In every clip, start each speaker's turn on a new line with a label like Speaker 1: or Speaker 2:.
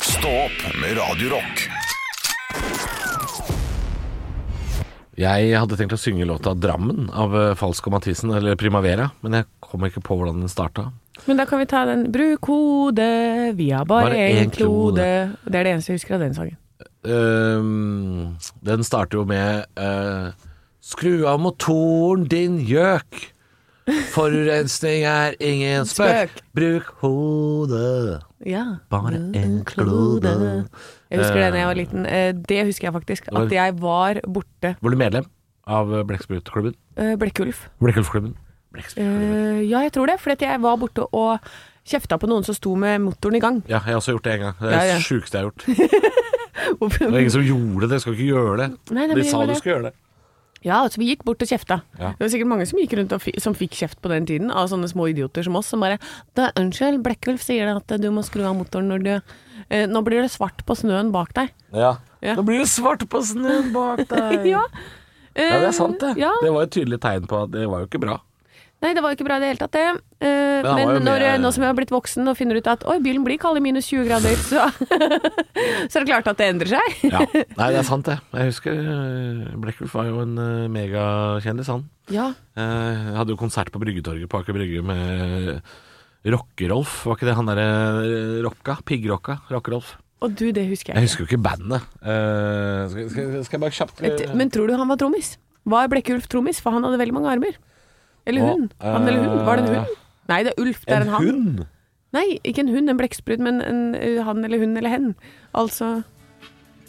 Speaker 1: Stå opp med Radio Rock.
Speaker 2: Jeg hadde tenkt å synge låta 'Drammen' av eh, Falsk og Mathisen, eller 'Primavera', men jeg kommer ikke på hvordan den starta.
Speaker 3: Men da kan vi ta den Bruk hodet, vi har bare
Speaker 2: Bare
Speaker 3: én
Speaker 2: én klode.
Speaker 3: klode. Det er det eneste jeg husker av den sangen.
Speaker 2: Ehm, den starter jo med eh, Skru av motoren, din gjøk. Forurensning er ingen spøk.
Speaker 3: Spøk.
Speaker 2: Bruk hodet,
Speaker 3: Ja.
Speaker 2: bare en Mm. klode.
Speaker 3: Jeg husker det
Speaker 2: Eh,
Speaker 3: da jeg var liten. Eh, Det husker jeg faktisk.
Speaker 2: var-
Speaker 3: At jeg var borte.
Speaker 2: Var du medlem av eh, Blekksprutklubben?
Speaker 3: Eh, Blekkulf.
Speaker 2: Blekkulfklubben? Blekksprutklubben.
Speaker 3: Eh, Ja, jeg tror det. Fordi at jeg var borte og kjefta på noen som sto med motoren i gang.
Speaker 2: Ja, jeg har også gjort det en gang. Det er
Speaker 3: Ja, ja.
Speaker 2: det sjukeste jeg har gjort. Det var ingen som gjorde det. Jeg skal ikke gjøre det.
Speaker 3: Nei,
Speaker 2: De
Speaker 3: nei, men
Speaker 2: sa du
Speaker 3: gjør det.
Speaker 2: skulle gjøre det.
Speaker 3: Ja, altså vi gikk bort og kjefta.
Speaker 2: Ja.
Speaker 3: Det var sikkert mange som gikk rundt og fi, som fikk kjeft på den tiden, av sånne små idioter som oss, som bare «Da, 'Unnskyld, Blekkulf sier det at du må skru av motoren når du eh, Nå blir det svart på snøen bak deg.
Speaker 2: Ja.
Speaker 3: Ja.
Speaker 2: Nå blir det svart på snøen bak deg.
Speaker 3: Ja. eh,
Speaker 2: Ja, det er sant, det.
Speaker 3: Ja.
Speaker 2: Det var et tydelig tegn på at det var jo ikke bra.
Speaker 3: Nei, det var jo ikke bra i det hele tatt, det. Eh,
Speaker 2: han var
Speaker 3: men
Speaker 2: jo
Speaker 3: når,
Speaker 2: med-
Speaker 3: nå som jeg har blitt voksen og finner ut at oi, bilen blir kald i minus 20 grader, så, så er det klart at det endrer seg.
Speaker 2: Ja. Nei, det er sant, det. Jeg husker eh, Blekkulf var jo en eh, megakjendis, han.
Speaker 3: Ja.
Speaker 2: Eh, Jeg hadde jo konsert på Bryggetorget på Aker Brygge med Rocke-Rolf. Var ikke det han derre eh, Rocka? Piggrocka? Rocke-Rolf.
Speaker 3: Og du, det husker
Speaker 2: Jeg
Speaker 3: jeg.
Speaker 2: husker jo ikke bandet. Eh, Skal, skal, skal jeg bare kjapt eh,
Speaker 3: ikke. Et- Men tror du han var trommis? Var Blekkulf trommis? For han hadde veldig mange armer. Eller hun.
Speaker 2: Å,
Speaker 3: Han eller hun. Var det en
Speaker 2: eh,
Speaker 3: hund? Nei, det er Ulf. Det er
Speaker 2: En
Speaker 3: en han.
Speaker 2: hund?
Speaker 3: Nei, ikke en hund, en blekksprut, men en, eh, han eller hun eller hen. Altså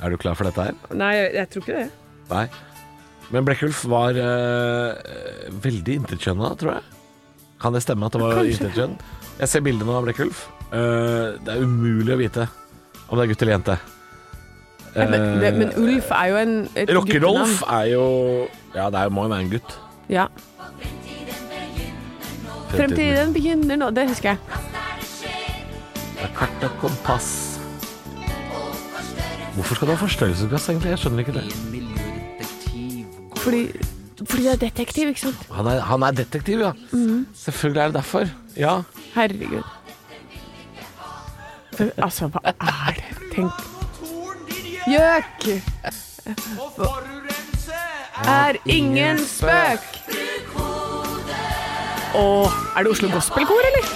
Speaker 2: Er du klar for dette her?
Speaker 3: Nei, jeg, jeg tror ikke det.
Speaker 2: Nei. Men Blekkulf var eh, veldig intetkjønna, tror jeg. Kan det stemme at det var
Speaker 3: Kanskje.
Speaker 2: intetkjønn? Jeg ser bildet nå av Blekkulf. Eh, det er umulig å vite om det er gutt eller jente.
Speaker 3: Nei, Men, det, men
Speaker 2: Eh,
Speaker 3: Ulf er jo en et
Speaker 2: Rocke-Rolf
Speaker 3: guttenavn.
Speaker 2: er jo Ja, det er- må jo være en gutt.
Speaker 3: Ja. Fremtiden begynner nå. Det husker jeg.
Speaker 2: Det er Kart og kompass. Hvorfor skal du ha forstørrelsesglass, egentlig? Jeg skjønner ikke det.
Speaker 3: Fordi, fordi det er detektiv, ikke sant?
Speaker 2: Han er, han er detektiv, ja.
Speaker 3: Mm.
Speaker 2: Selvfølgelig er det derfor. Ja.
Speaker 3: Herregud. For, altså, hva er det? Tenk. Gjøk er ingen spøk. Å, er det Oslo Gospelkor, eller?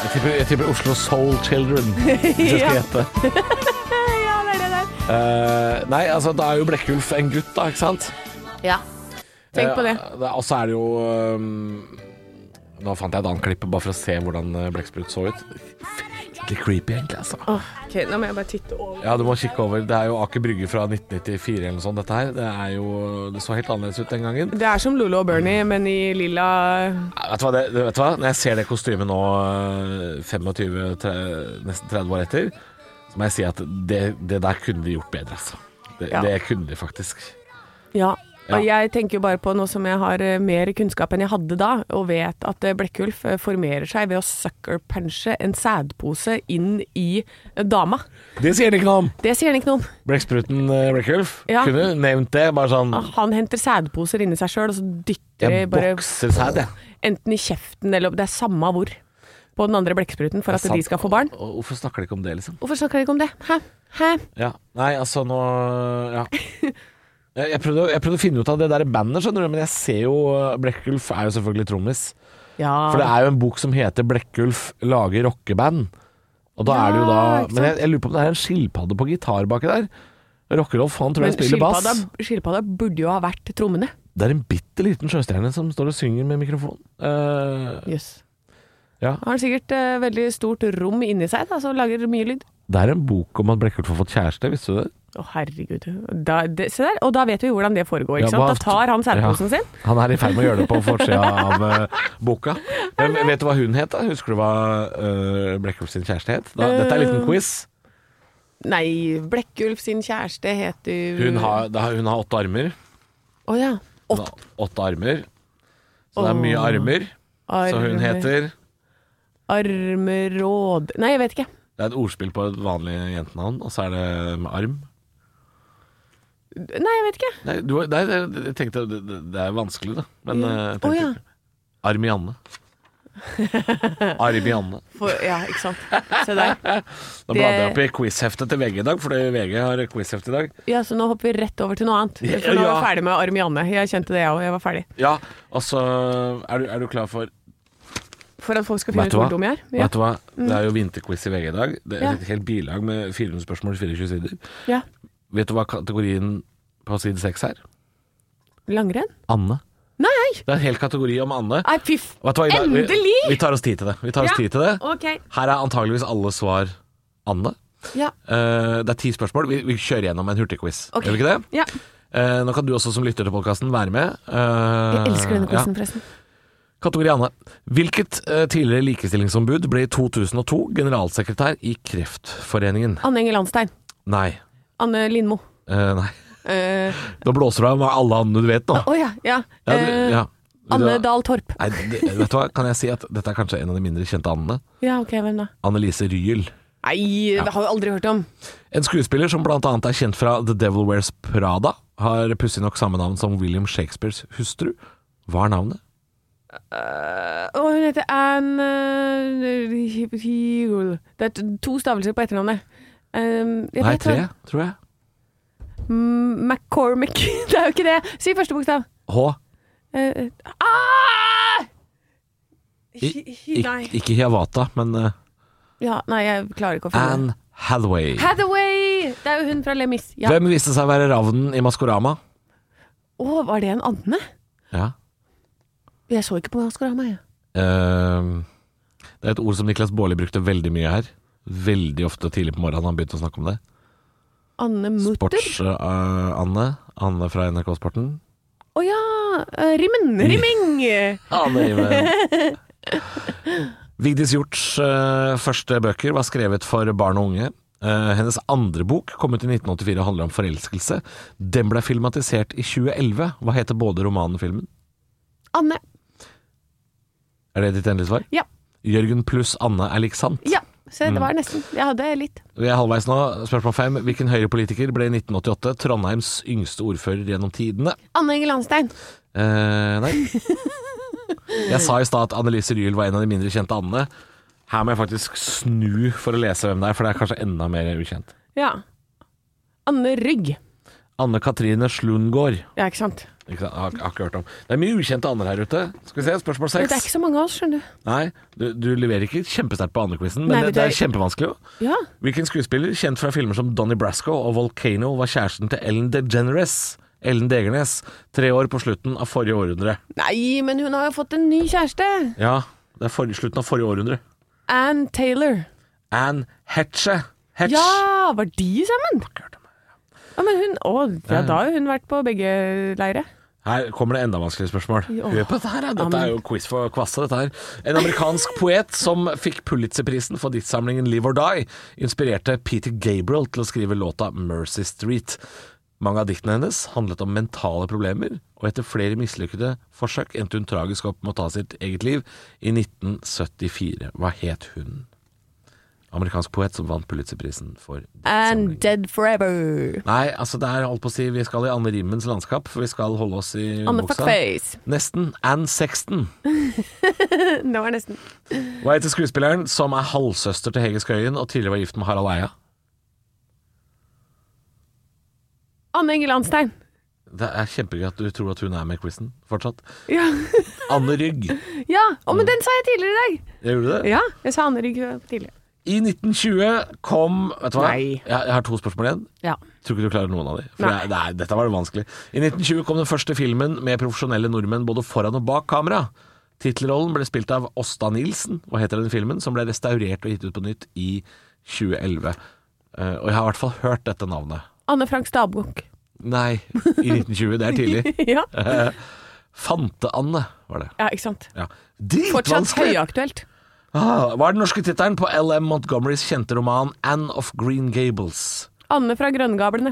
Speaker 2: Jeg tipper, jeg tipper Oslo Soul Children. Hvis jeg skal
Speaker 3: Ja.
Speaker 2: gjette.
Speaker 3: Ja, det er det der.
Speaker 2: Eh, nei, altså da er jo Blekkulf en gutt, da, ikke sant?
Speaker 3: Tenk på det.
Speaker 2: Eh, og så er det jo eh, Nå fant jeg et annet klipp bare for å se hvordan eh, Blekksprut så ut. Fryktelig creepy, egentlig. altså
Speaker 3: Åh, ok, nå må jeg bare titte over.
Speaker 2: Ja, du må kikke over. Det er jo Aker Brygge fra 1994 eller noe sånt, dette her. Det, er jo, det så helt annerledes ut den gangen.
Speaker 3: Det er som Lolo og Bernie, men i lilla
Speaker 2: Eh, Vet du hva, det, vet du hva? når jeg ser det kostymet nå, eh, 25, tre- nesten 30 år etter, så må jeg si at det, det der kunne de gjort bedre, altså. Det,
Speaker 3: Ja.
Speaker 2: det kunne de faktisk.
Speaker 3: Ja. Og
Speaker 2: Ja.
Speaker 3: jeg tenker jo bare på nå som jeg har eh, mer kunnskap enn jeg hadde da, og vet at eh, Blekkulf eh, formerer seg ved å sucker-punche en sædpose inn i eh, dama.
Speaker 2: Det sier de ikke noe om!
Speaker 3: Det sier han ikke noe om.
Speaker 2: Blekkspruten eh, Blekkulf
Speaker 3: Ja.
Speaker 2: kunne nevnt det, bare sånn
Speaker 3: Han henter sædposer inni seg sjøl, og så dytter de
Speaker 2: Jeg
Speaker 3: bare
Speaker 2: bokser sæd, jeg.
Speaker 3: enten i kjeften eller Det er samme hvor på den andre blekkspruten for at de skal få barn.
Speaker 2: Og- og Hvorfor snakker de ikke om det, liksom?
Speaker 3: Hvorfor snakker de ikke om det? Hæ? Hæ?
Speaker 2: Ja. Nei, altså nå Ja. Jeg jeg prøvde, jeg prøvde å finne ut av det der bandet, skjønner du, men jeg ser jo eh, Blekkulf er jo selvfølgelig trommis.
Speaker 3: Ja.
Speaker 2: For det er jo en bok som heter 'Blekkulf lager rockeband'. Og da er det jo
Speaker 3: Ja,
Speaker 2: da
Speaker 3: ikke
Speaker 2: Men jeg,
Speaker 3: sant?
Speaker 2: jeg lurer på om det er en skilpadde på gitar baki der. Rockerolf, han tror
Speaker 3: Men
Speaker 2: jeg spiller
Speaker 3: skilpadda,
Speaker 2: bass.
Speaker 3: skilpadda burde jo ha vært trommene.
Speaker 2: Det er en bitte liten sjøstjerne som står og synger med mikrofon. Eh,
Speaker 3: Jøss.
Speaker 2: Ja.
Speaker 3: Har han sikkert eh, veldig stort rom inni seg, da, som lager mye lyd.
Speaker 2: det er en bok om at Blekkulf har fått kjæreste, visste du det?
Speaker 3: Å, herregud. Da, det, se der, og da vet vi hvordan det foregår.
Speaker 2: Ja,
Speaker 3: ikke sant?
Speaker 2: hva-
Speaker 3: Da tar han sædposen sin.
Speaker 2: Han er i ferd med å gjøre det på forsida av eh, boka. Men vet du hva hun het? da? Husker du hva uh, Blekkulf sin kjæreste het? Da, dette er en liten quiz.
Speaker 3: Nei, Blekkulf sin kjæreste heter
Speaker 2: Hun har, da, hun har åtte armer.
Speaker 3: Å ja.
Speaker 2: Hun har åtte armer. Så det er mye armer. Så hun heter
Speaker 3: Armeråd Nei, jeg vet ikke.
Speaker 2: Det er et ordspill på et vanlig jentenavn, og så er det med arm.
Speaker 3: Nei, jeg vet ikke.
Speaker 2: Nei, du, nei jeg tenkte det, det det er vanskelig, da. Men eh, jeg
Speaker 3: Å
Speaker 2: tenkte
Speaker 3: ja.
Speaker 2: Armianne. Aribianne.
Speaker 3: For, ja, ikke sant. Se der.
Speaker 2: Da bladde jeg opp i quizheftet til VG i dag, fordi VG har quizheft i dag.
Speaker 3: Ja, så nå hopper vi rett over til noe annet. For nå er
Speaker 2: Ja.
Speaker 3: jeg ferdig med Armianne. Jeg kjente det, jeg òg. Jeg var ferdig.
Speaker 2: Ja, altså Er du, er du klar for
Speaker 3: For at folk skal finne ut hvor dum jeg er. Ja. Mm.
Speaker 2: Vet du hva? Det er jo vinterquiz i VG i dag. Det er
Speaker 3: Ja.
Speaker 2: et helt bilag med 400 spørsmål, 24 sider.
Speaker 3: Ja.
Speaker 2: Vet du hva kategorien på side 6 er?
Speaker 3: Langrenn?
Speaker 2: Anne.
Speaker 3: Nei!
Speaker 2: Det er en hel kategori om Anne.
Speaker 3: Nei, fy f...
Speaker 2: Vet du hva, i dag- vi-
Speaker 3: Endelig!
Speaker 2: Vi tar oss tid til det. Vi tar oss
Speaker 3: Ja.
Speaker 2: tid til det.
Speaker 3: Ok.
Speaker 2: Her er antageligvis alle svar Anne.
Speaker 3: Ja.
Speaker 2: Eh, det er ti spørsmål. Vi, vi kjører gjennom en hurtigquiz.
Speaker 3: Ok.
Speaker 2: Gjør vi ikke det?
Speaker 3: ja.
Speaker 2: Eh, nå kan du også som lytter til podkasten være med. Eh,
Speaker 3: Jeg elsker denne
Speaker 2: quizen
Speaker 3: quizen, forresten.
Speaker 2: Kategori Anne. Hvilket eh, tidligere likestillingsombud ble i 2002 generalsekretær i Kreftforeningen?
Speaker 3: Anne Enger Landstein.
Speaker 2: Nei.
Speaker 3: Anne Lindmo.
Speaker 2: Eh, nei.
Speaker 3: Å eh,
Speaker 2: Da blåser du av med alle andre du vet nå.
Speaker 3: å ja. ja.
Speaker 2: Ja, du,
Speaker 3: Eh,
Speaker 2: ja.
Speaker 3: Anne
Speaker 2: Du-
Speaker 3: Dahl Torp.
Speaker 2: Nei, det, vet du hva, kan jeg si at dette er kanskje en av de mindre kjente andene?
Speaker 3: Ja, ok, hvem da?
Speaker 2: Annelise Ryel.
Speaker 3: Nei, det har jeg aldri hørt om.
Speaker 2: En skuespiller som blant annet er kjent fra The Devil Wears Prada, har pussig nok samme navn som William Shakespeares hustru. Hva er navnet?
Speaker 3: Eh, Å, hun heter Anne Hiul. Det er t- to stavelser på etternavnet. Um, jeg
Speaker 2: Nei,
Speaker 3: vet
Speaker 2: tre,
Speaker 3: hva-
Speaker 2: tror jeg.
Speaker 3: Mm, McCormick. Det er jo ikke det. Si første bokstav.
Speaker 2: H.
Speaker 3: Eh, ah!
Speaker 2: I-
Speaker 3: Hi- hi-
Speaker 2: Ik
Speaker 3: Nei.
Speaker 2: ikke Hiawatha, men eh,
Speaker 3: Ja, nei, jeg klarer ikke å finne det.
Speaker 2: Anne Hathaway.
Speaker 3: Hathaway! Det er jo hun fra Le Mis. Ja.
Speaker 2: Hvem viste seg å være ravnen i Maskorama?
Speaker 3: Å, var det en Anne?
Speaker 2: Ja.
Speaker 3: Jeg så ikke på Maskorama, jeg.
Speaker 2: Ehm, det er et ord som Niklas Baarli brukte veldig mye her. Veldig ofte tidlig på morgenen han begynte å snakke om det.
Speaker 3: Anne Mutter?
Speaker 2: Sports-Anne. Anne fra NRK Sporten.
Speaker 3: Å ja! eh, Rimmen! Rimming!
Speaker 2: Anne Rimen. Vigdis Hjorts eh, første bøker var skrevet for barn og unge. Eh, hennes andre bok kom ut i 1984 og handler om forelskelse. Den ble filmatisert i 2011. Hva heter både romanen og filmen?
Speaker 3: Anne.
Speaker 2: Er det ditt endelige svar?
Speaker 3: Ja.
Speaker 2: Jørgen pluss Anne er lik sant.
Speaker 3: Ja. Se, det var nesten. Jeg hadde litt.
Speaker 2: Vi er halvveis nå. Spørsmål fem. Hvilken Høyre-politiker ble i 1988 Trondheims yngste ordfører gjennom tidene?
Speaker 3: Anne Inge Landstein.
Speaker 2: Eh, nei. Jeg sa i stad at Annelise Ryel var en av de mindre kjente andene. Her må jeg faktisk snu for å lese hvem det er, for det er kanskje enda mer ukjent.
Speaker 3: Ja. Anne Rygg.
Speaker 2: Anne Katrine Slundgård.
Speaker 3: Ja, ikke sant.
Speaker 2: Ikke sant? Har, har ikke hørt om. Det er mye ukjente ander her ute. Skal vi se, spørsmål
Speaker 3: Men det er
Speaker 2: seks.
Speaker 3: ikke så mange av oss, skjønner du.
Speaker 2: Nei, du, du leverer ikke kjempesterkt på andrequizen, men
Speaker 3: Nei,
Speaker 2: det,
Speaker 3: vet
Speaker 2: det er
Speaker 3: du-
Speaker 2: kjempevanskelig. jo.
Speaker 3: Ja.
Speaker 2: Hvilken skuespiller, kjent fra filmer som Donnie Brasco og Volcano, var kjæresten til Ellen DeGeneres? Ellen Degernes, tre år på slutten av forrige århundre.
Speaker 3: Nei, men hun har jo fått en ny kjæreste.
Speaker 2: Ja, det er for, slutten av forrige århundre.
Speaker 3: Ann Taylor.
Speaker 2: Anne Hetche. Hetch.
Speaker 3: Ja, var de sammen?
Speaker 2: hørt om
Speaker 3: Ja, men hun, å, ja, da har hun vært på begge leire.
Speaker 2: Her kommer det enda vanskeligere spørsmål.
Speaker 3: Ja.
Speaker 2: Hør på dette her, ja. dette
Speaker 3: Amen.
Speaker 2: er jo quiz for kvasse, dette her. En amerikansk poet som fikk Pulitzerprisen for diktsamlingen Live or Die, inspirerte Peter Gabriel til å skrive låta Mercy Street. Mange av diktene hennes handlet om mentale problemer, og etter flere mislykkede forsøk endte hun tragisk opp med å ta sitt eget liv i 1974. Hva het hun? Amerikansk poet som vant Pulitzerprisen for
Speaker 3: And
Speaker 2: diktsamlingen.
Speaker 3: Dead Forever.
Speaker 2: Nei, altså det er holdt på å si vi skal i Anne Rimmens landskap, for vi skal holde oss i
Speaker 3: Anne
Speaker 2: buksa.
Speaker 3: Fuckface.
Speaker 2: Nesten. Ann Sexton.
Speaker 3: Det var nesten.
Speaker 2: Hva heter skuespilleren som er halvsøster til Hege Skøyen og tidligere var gift med Harald Eia?
Speaker 3: Anne Inge Landstein.
Speaker 2: Det er kjempegøy at du tror at hun er med i quizen fortsatt.
Speaker 3: Ja.
Speaker 2: Anne Rygg.
Speaker 3: ja. Å,
Speaker 2: Mm.
Speaker 3: men den sa jeg tidligere i dag.
Speaker 2: Jeg gjorde det.
Speaker 3: Ja, jeg sa Anne Rygg tidligere.
Speaker 2: I 1920 kom Vet du hva?
Speaker 3: Nei.
Speaker 2: Jeg, jeg har to spørsmål igjen.
Speaker 3: Ja.
Speaker 2: Tror ikke du klarer noen av de. For
Speaker 3: Nei.
Speaker 2: jeg, nei, dette var det vanskelig. I 1920 kom den første filmen med profesjonelle nordmenn både foran og bak kamera. Tittelrollen ble spilt av Åsta Nilsen, hva heter den filmen, som ble restaurert og gitt ut på nytt i 2011. Eh, og jeg har i hvert fall hørt dette navnet.
Speaker 3: Anne Franks dagbok.
Speaker 2: Nei, i 1920. Det er tidlig.
Speaker 3: ja.
Speaker 2: Fante-Anne var det.
Speaker 3: ja, ikke sant.
Speaker 2: Ja.
Speaker 3: Fortsatt
Speaker 2: Dritvanskelig!
Speaker 3: høyaktuelt.
Speaker 2: Ah, hva er den norske tittelen på LM Montgomerys kjente roman Anne of Green Gables?
Speaker 3: Anne fra Grønngablene.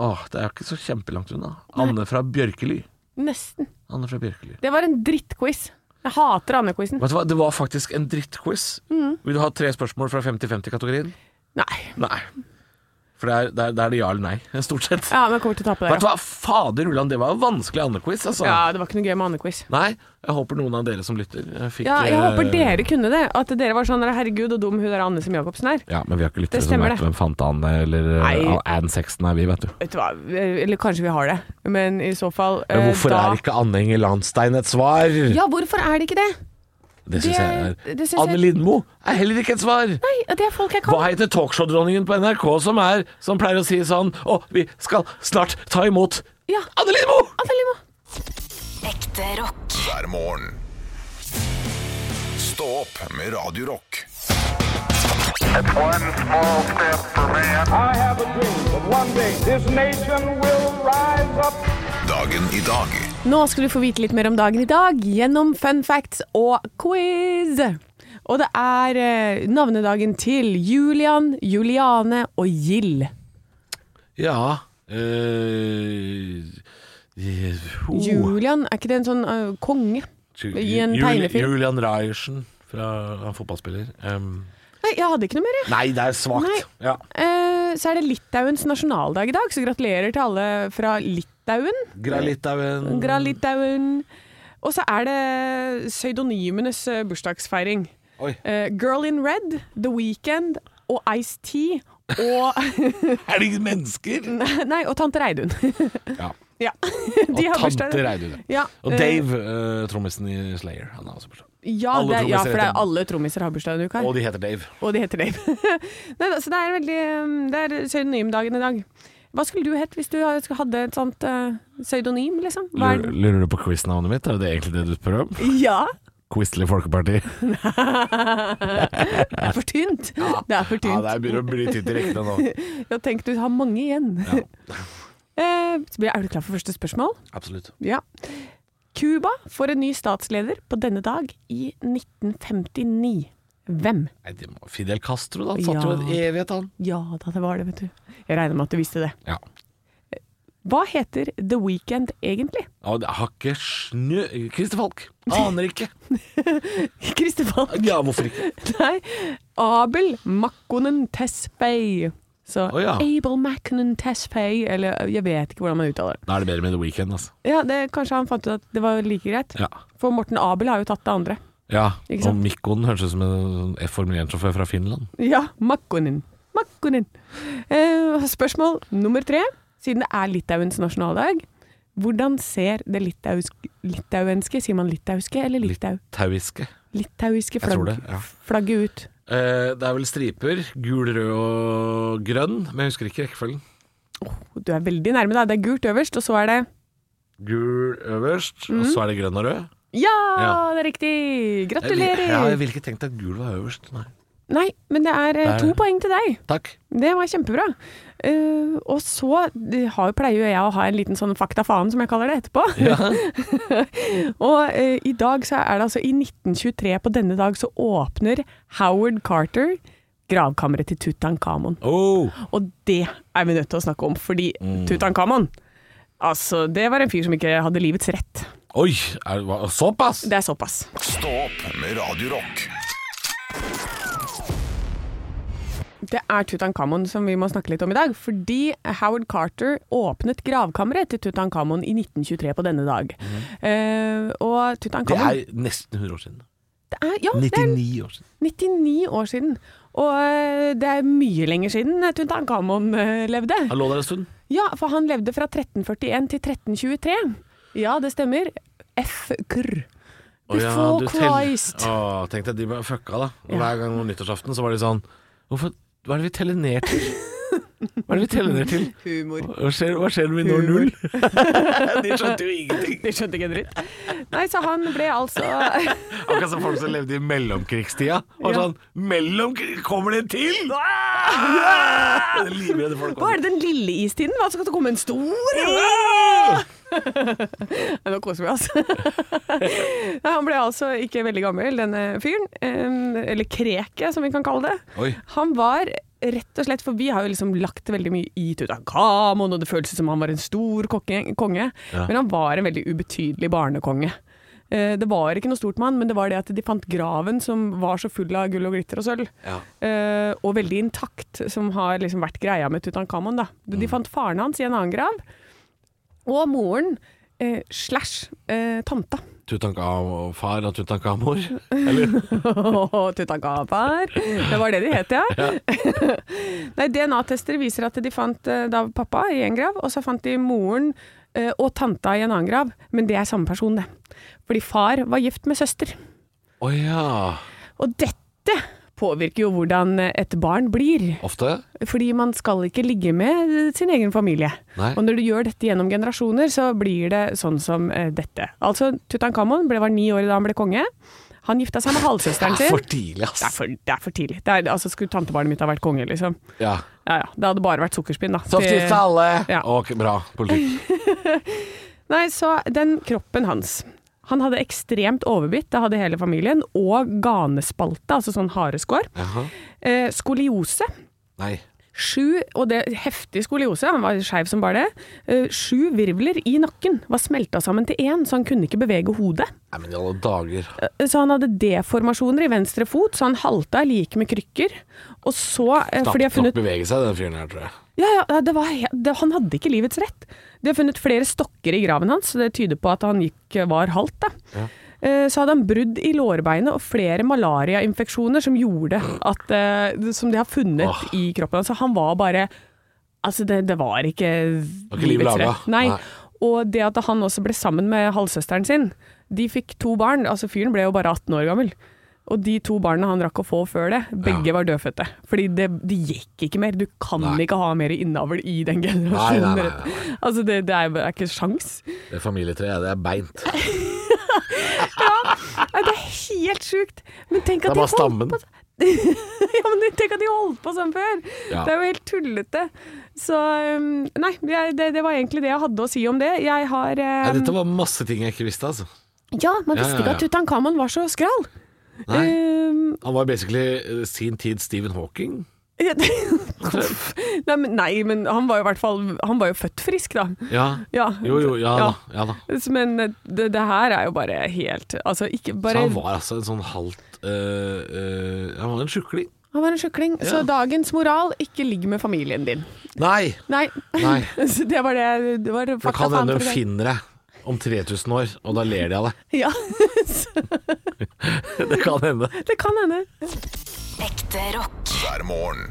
Speaker 2: Åh, det er jo ikke så kjempelangt unna. Anne fra Bjørkely.
Speaker 3: Nesten.
Speaker 2: Anne fra Bjørkely.
Speaker 3: Det var en drittquiz. Jeg hater Anne-quizen.
Speaker 2: Vet du hva, Det var faktisk
Speaker 3: Mm.
Speaker 2: en drittquiz. Vil du ha tre spørsmål fra 50-50-kategorien?
Speaker 3: Nei.
Speaker 2: Nei. For det er det, er, det, er det ja eller nei, stort sett.
Speaker 3: Ja, men jeg kommer til å tape
Speaker 2: Vet du
Speaker 3: det.
Speaker 2: hva, fader Ulland, det var jo vanskelig andrequiz, altså.
Speaker 3: Ja, det var ikke noe gøy med Anne-quiz.
Speaker 2: Nei, jeg håper noen av dere som lytter eh, fikk
Speaker 3: Ja, jeg
Speaker 2: eh,
Speaker 3: håper dere kunne det. At dere var sånn Herregud, og dum hun der Anne Sem Jacobsen er.
Speaker 2: Ja, men vi har ikke lyttere
Speaker 3: Det
Speaker 2: som
Speaker 3: stemmer
Speaker 2: vet
Speaker 3: det.
Speaker 2: hvem fant han eller
Speaker 3: Nei. Eh,
Speaker 2: eh, Ann Sexton er vi, vet du.
Speaker 3: Vet du hva, eller kanskje vi har det, men i så fall
Speaker 2: Men
Speaker 3: eh,
Speaker 2: hvorfor
Speaker 3: da
Speaker 2: er ikke Anne Enger Landstein et svar?
Speaker 3: Ja, hvorfor er det ikke det?
Speaker 2: det syns
Speaker 3: det-
Speaker 2: jeg er
Speaker 3: det synes jeg-
Speaker 2: Anne Lindmo er heller ikke et svar!
Speaker 3: Nei, det er folk jeg
Speaker 2: Hva
Speaker 3: kan.
Speaker 2: heter talkshow-dronningen på NRK som er Som pleier å si sånn Å, vi skal snart ta imot
Speaker 3: Ja.
Speaker 2: Anne Lindmo!
Speaker 3: Anne Lindmo.
Speaker 4: Ekte rock.
Speaker 1: hver morgen. Stå opp med Radio Rock.
Speaker 5: It's one small step for man.
Speaker 6: I have a dream that one day this nation will rise up.
Speaker 1: Dagen i dag
Speaker 3: Nå skal du få vite litt mer om dagen i dag gjennom fun facts og quiz. Og det er eh, navnedagen til Julian, Juliane og Gill.
Speaker 2: Ja eh, eh, ho.
Speaker 3: Julian, er ikke det en sånn eh, konge?
Speaker 2: Ju-
Speaker 3: i en
Speaker 2: Jul-
Speaker 3: tegnefilm.
Speaker 2: Julian Ryerson fra han er fotballspiller. Um,
Speaker 3: Nei, jeg hadde ikke noe mer, jeg.
Speaker 2: nei, det er
Speaker 3: Nei.
Speaker 2: svakt. Ja.
Speaker 3: Eh, så er det Litauens nasjonaldag i dag, så gratulerer til alle fra Litauen.
Speaker 2: Gralitauen
Speaker 3: Gralitauen. Og så er det pseudonymenes eh, bursdagsfeiring.
Speaker 2: Oi.
Speaker 3: Eh, Girl in Red, The Weekend og Ice-T og,
Speaker 2: Er det mennesker?
Speaker 3: nei, og Tante Reidun.
Speaker 2: Ja.
Speaker 3: Ja.
Speaker 2: Og
Speaker 3: De har bursdag.
Speaker 2: tante Reidun.
Speaker 3: Ja,
Speaker 2: Og
Speaker 3: eh,
Speaker 2: Dave, eh, trommisen i Slayer, han har også bursdag.
Speaker 3: Ja,
Speaker 2: alle
Speaker 3: det,
Speaker 2: trommiser
Speaker 3: ja for det er
Speaker 2: heter-
Speaker 3: alle trommiser har bursdag denne uka,
Speaker 2: Og
Speaker 3: og,
Speaker 2: de heter Dave.
Speaker 3: og de heter Dave. Nei, da, så det er veldig um, Det er pseudonymdagen i dag. Hva skulle du hett hvis du hadde et sånt eh, pseudonym, liksom? Hva er-
Speaker 2: Lurer, lurer du på quiznavnet mitt? Er det egentlig det du spør om?
Speaker 3: Ja!
Speaker 2: Quizlig Folkeparti.
Speaker 3: Det er for tynt. Det er for
Speaker 2: Ja,
Speaker 3: tynt.
Speaker 2: det er begynner å bli tynt i rekkene nå.
Speaker 3: Jeg tenkte du har mange igjen.
Speaker 2: Ja.
Speaker 3: Eh, så blir- er du klar for første spørsmål?
Speaker 2: Absolutt.
Speaker 3: Ja. Cuba får en ny statsleder på denne dag i 1959. Hvem?
Speaker 2: Nei, det må- Fidel Castro, da. Han satt jo
Speaker 3: Ja.
Speaker 2: en evighet, han.
Speaker 3: Ja da, det var det, vet du. Jeg regner med at du visste det.
Speaker 2: Ja.
Speaker 3: Hva heter The Weekend egentlig?
Speaker 2: Og det har ikke snø... Christer Falk. Aner ikke.
Speaker 3: Kristefan?
Speaker 2: Ja, hvorfor ikke?
Speaker 3: Nei. Abel Makkonen Tespey. Så
Speaker 2: Å ja.
Speaker 3: Abel Makkonen Tespey, eller jeg vet ikke hvordan man uttaler det.
Speaker 2: Da er det bedre med The Weekend, altså.
Speaker 3: Ja, det, Kanskje han fant ut at det var like greit.
Speaker 2: Ja.
Speaker 3: For Morten Abel har jo tatt det andre.
Speaker 2: ja.
Speaker 3: Ikke
Speaker 2: Og
Speaker 3: sant?
Speaker 2: Mikkoen høres ut som en F-Formel 1-sjåfør fra Finland.
Speaker 3: Ja, Makkonen. Makkonen. Eh, spørsmål nummer tre. Siden det er Litauens nasjonaldag, hvordan ser det litauisk, litauenske Sier man litauiske eller litau?
Speaker 2: Tauiske.
Speaker 3: Litauiske
Speaker 2: Jeg tror
Speaker 3: flagg,
Speaker 2: det, ja.
Speaker 3: flagget ut?
Speaker 2: Eh, det er vel striper. Gul, rød og grønn. Men jeg husker ikke rekkefølgen.
Speaker 3: Du er veldig nærme, da. Det er gult øverst, og så er det
Speaker 2: Gul øverst,
Speaker 3: Mm.
Speaker 2: og så er det grønn og rød.
Speaker 3: Ja,
Speaker 2: Ja.
Speaker 3: det er riktig!
Speaker 2: Jeg vil- Ja, jeg
Speaker 3: Gratulerer!
Speaker 2: ville ikke tenkt at gul var øverst. Nei.
Speaker 3: Nei, men det er eh,
Speaker 2: Der.
Speaker 3: to poeng til deg.
Speaker 2: Takk.
Speaker 3: Det var kjempebra. Eh, og så eh, har, pleier jo jeg å ha en liten sånn fakta faen, som jeg kaller det, etterpå. og eh, i dag så er det altså I 1923 på denne dag så åpner Howard Carter gravkammeret til Tutankhamon.
Speaker 2: Oh.
Speaker 3: Og det er vi nødt til å snakke om, fordi Tutankhamon Altså, det var en fyr som ikke hadde livets rett.
Speaker 2: Oi, er, hva- såpass?
Speaker 3: Det er såpass.
Speaker 1: Stå opp med Radio Rock
Speaker 3: Det er Tutankhamon som vi må snakke litt om i dag, fordi Howard Carter åpnet gravkammeret til Tutankhamon i 1923 på denne dag. Eh, og
Speaker 2: Det
Speaker 3: Tutankhamon
Speaker 2: er nesten 100 år siden.
Speaker 3: det er, ja, det er
Speaker 2: 99 år siden.
Speaker 3: 99 år siden. Og eh, det er mye lenger siden Tutankhamon eh, levde.
Speaker 2: Han lå der en stund.
Speaker 3: Ja, for han levde fra 1341 til 1323. Ja, det stemmer. F-kurr. Before Christ.
Speaker 2: Å, tenk deg de var fucka, da. Og Hver gang om nyttårsaften så var de sånn Hvorfor, Hva er det vi teller ned til? Hva er det vi teller ned til?
Speaker 3: Humor.
Speaker 2: Hva skjer, hva skjer når vi når null? de skjønte jo ingenting.
Speaker 3: De skjønte ikke en dritt. Nei, så han ble altså
Speaker 2: Akkurat som folk som levde i mellomkrigstida. Og
Speaker 3: Ja. Ah!
Speaker 2: sånn Mellom kommer det til?! Det er Livredde folk.
Speaker 3: Hva er det den lille istiden? Hva skal det komme en stor? Ah! Nei, nå koser vi oss. Nei, han ble altså ikke veldig gammel, denne fyren. eh, Eller kreket, som vi kan kalle det.
Speaker 2: Oi.
Speaker 3: Han var rett og slett, for vi har jo liksom lagt veldig mye i Tutankhamon, og det føles som han var en stor kokke, konge, men han var en veldig ubetydelig barnekonge. eh, det var ikke noe stort med han, men det var det at de fant graven som var så full av gull og glitter og sølv.
Speaker 2: Ja.
Speaker 3: Eh, og veldig intakt, som har liksom vært greia med Tutankhamon. Da. De fant faren hans i en annen grav, og moren eh, slash eh, tanta.
Speaker 2: Tutankhamon-far og Tutankhamor. Eller
Speaker 3: Tutankhamar. Det var det de het, ja. Nei, DNA-tester viser at de fant eh, da pappa i en grav, og så fant de moren eh, og tanta i en annen grav. Men det er samme person, det. Fordi far var gift med søster.
Speaker 2: Å ja.
Speaker 3: Og dette påvirker jo hvordan et barn blir.
Speaker 2: Ofte?
Speaker 3: Fordi man skal ikke ligge med sin egen familie.
Speaker 2: Nei.
Speaker 3: Og når du gjør dette gjennom generasjoner, så blir det sånn som eh, dette. Altså, Tutankhamon ble, var ni år da han ble konge. Han gifta seg med halvsøsteren sin.
Speaker 2: For tidlig,
Speaker 3: Det er
Speaker 2: ass.
Speaker 3: for, det er for tidlig. Det er, altså, skulle tantebarnet mitt ha vært konge, liksom?
Speaker 2: Ja.
Speaker 3: Ja ja, det hadde bare vært sukkerspinn, da.
Speaker 2: Soft gift
Speaker 3: Det-
Speaker 2: til alle.
Speaker 3: Ja.
Speaker 2: Ok, bra politikk.
Speaker 3: Nei, så den kroppen hans Han hadde ekstremt overbitt, det hadde hele familien, og ganespalte, altså sånn hareskår.
Speaker 2: Jaha.
Speaker 3: Eh, skoliose.
Speaker 2: Nei.
Speaker 3: Sju, og det heftig skoliose, han var skeiv som bare det. Eh, sju virvler i nakken var smelta sammen til én, så han kunne ikke bevege hodet.
Speaker 2: Nei, men i alle dager.
Speaker 3: Eh, Så han hadde deformasjoner i venstre fot, så han halta like med krykker. Og så, eh, fordi jeg
Speaker 2: Knapt
Speaker 3: har
Speaker 2: nok
Speaker 3: funnet
Speaker 2: beveger seg, den fyren her, tror jeg.
Speaker 3: Ja, ja, det var, he- det, han hadde ikke livets rett. De har funnet flere stokker i graven hans, så det tyder på at han gikk, var halvt. Da. Eh, Så hadde han brudd i lårbeinet og flere malariainfeksjoner som gjorde at eh, det- Som de har funnet
Speaker 2: Åh.
Speaker 3: i kroppen hans. Så Han var bare Altså, det, det var ikke
Speaker 2: var ikke liv laga.
Speaker 3: Nei.
Speaker 2: Nei.
Speaker 3: Og det at han også ble sammen med halvsøsteren sin De fikk to barn. Altså, fyren ble jo bare 18 år gammel. Og de to barna han rakk å få før det, begge
Speaker 2: Ja.
Speaker 3: var dødfødte. Fordi det, det gikk ikke mer. Du kan
Speaker 2: Nei.
Speaker 3: ikke ha mer innavl i den
Speaker 2: Nei, nei,
Speaker 3: generasjonen.
Speaker 2: nei,
Speaker 3: rett. Altså, det, det er bare- er ikke sjans.
Speaker 2: Det familietreet, det er beint.
Speaker 3: Nei, det er helt sjukt. Men tenk
Speaker 2: Det er
Speaker 3: at de
Speaker 2: bare
Speaker 3: holdt
Speaker 2: stammen.
Speaker 3: på ja, men tenk at de holdt på sånn før!
Speaker 2: Ja.
Speaker 3: Det er jo helt tullete. Så um, Nei, jeg, det, det var egentlig det jeg hadde å si om det. Jeg har
Speaker 2: Nei,
Speaker 3: um,
Speaker 2: dette var masse ting jeg ikke visste, altså.
Speaker 3: Ja, man
Speaker 2: Ja,
Speaker 3: visste
Speaker 2: ja,
Speaker 3: ikke
Speaker 2: ja.
Speaker 3: at Tutankhamon var så skral.
Speaker 2: Nei.
Speaker 3: Um,
Speaker 2: Han var basically eh, sin tid Stephen Hawking.
Speaker 3: Eh, nei, men, nei, men han var jo i hvert fall Han var jo født frisk, da.
Speaker 2: Ja.
Speaker 3: Ja.
Speaker 2: Jo, jo, ja,
Speaker 3: Ja.
Speaker 2: da. Ja, da.
Speaker 3: Men eh, det, det her er jo bare helt Altså, ikke
Speaker 2: Så
Speaker 3: bare
Speaker 2: han var altså en sånn halvt eh, eh, Han var en sjukling.
Speaker 3: Han var en sjukling. Så
Speaker 2: Ja.
Speaker 3: dagens moral ikke ligg med familien din.
Speaker 2: Nei!
Speaker 3: Nei.
Speaker 2: Nei.
Speaker 3: så det var det Det var
Speaker 2: For det
Speaker 3: fakta
Speaker 2: kan hende
Speaker 3: faen for
Speaker 2: de
Speaker 3: det.
Speaker 2: finner deg om 3000 år, og da ler de av deg.
Speaker 3: Ja,
Speaker 2: Det kan hende.
Speaker 3: det kan hende.
Speaker 4: Ekte rock.
Speaker 1: hver morgen.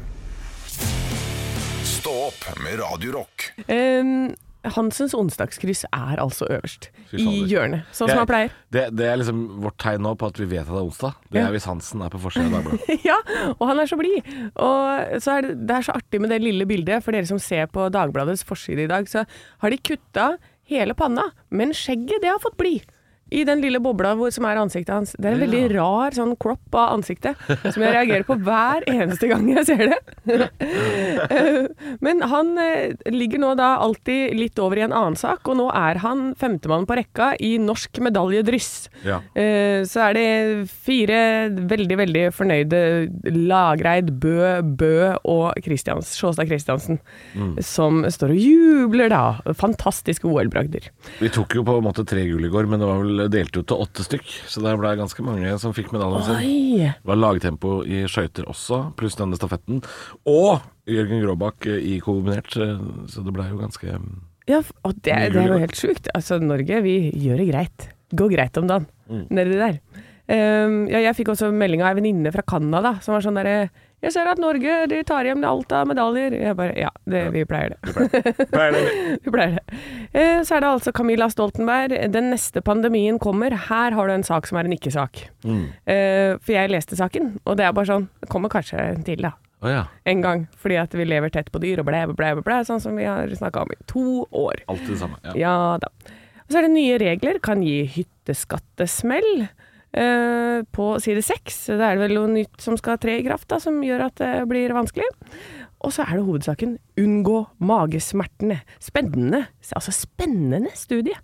Speaker 1: Stå opp med Radio Rock.
Speaker 3: Um, Hansens onsdagskryss er altså øverst.
Speaker 2: Fy
Speaker 3: I
Speaker 2: fader.
Speaker 3: hjørnet, sånn som han pleier.
Speaker 2: Det, det er liksom vårt tegn nå på at vi vet at det er onsdag. Det
Speaker 3: Ja.
Speaker 2: er hvis Hansen er på forsiden av Dagbladet.
Speaker 3: Ja, og han er så blid. Og så er det, det er så artig med det lille bildet, for dere som ser på Dagbladets forside i dag, så har de kutta hele panna, men skjegget det har fått bli. I den lille bobla hvor, som er ansiktet hans. Det er en veldig rar sånn crop av ansiktet, som jeg reagerer på hver eneste gang jeg ser det. Eh, Men han eh, ligger nå da alltid litt over i en annen sak, og nå er han femtemann på rekka i norsk medaljedryss.
Speaker 2: Ja.
Speaker 3: Eh, Så er det fire veldig, veldig fornøyde Lagreid, Bø, Bø og Christians, Sjåstad Christiansen, som står og jubler, da. Fantastiske OL-bragder.
Speaker 2: Vi tok jo på en måte tre gull i går, men det var vel delt ut til åtte stykk. Så det ble ganske mange som fikk medaljen sin.
Speaker 3: Oi!
Speaker 2: Det var lagtempo i skøyter også, pluss denne stafetten. Og Jørgen Gråbakk eh, i kombinert, eh, så det blei jo ganske mm,
Speaker 3: Ja, f- og det,
Speaker 2: Mye
Speaker 3: det er
Speaker 2: gull,
Speaker 3: jo
Speaker 2: da.
Speaker 3: helt sjukt. Altså, Norge, vi gjør det greit. Går greit om dagen, nedi der. Um, ja, jeg fikk også melding av ei venninne fra Canada som var sånn derre Jeg ser at Norge de tar hjem alt av medaljer. Jeg bare Ja, det, vi pleier det. Vi pleier det. Eh, Så er det altså Camilla Stoltenberg. Den neste pandemien kommer. Her har du en sak som er en ikke-sak. Eh, For jeg leste saken, og det er bare sånn Det kommer kanskje en til, da.
Speaker 2: Å ja.
Speaker 3: En gang. Fordi at vi lever tett på dyr og blæ, blæ, blæ, blæ sånn som vi har snakka om i to år.
Speaker 2: Alltid det samme. Ja.
Speaker 3: Ja da. Og så er det nye regler kan gi hytteskattesmell. Eh, på side seks. Det er det vel noe nytt som skal tre i kraft, da, som gjør at det blir vanskelig. Og så er det hovedsaken unngå magesmertene. Spennende, altså spennende studie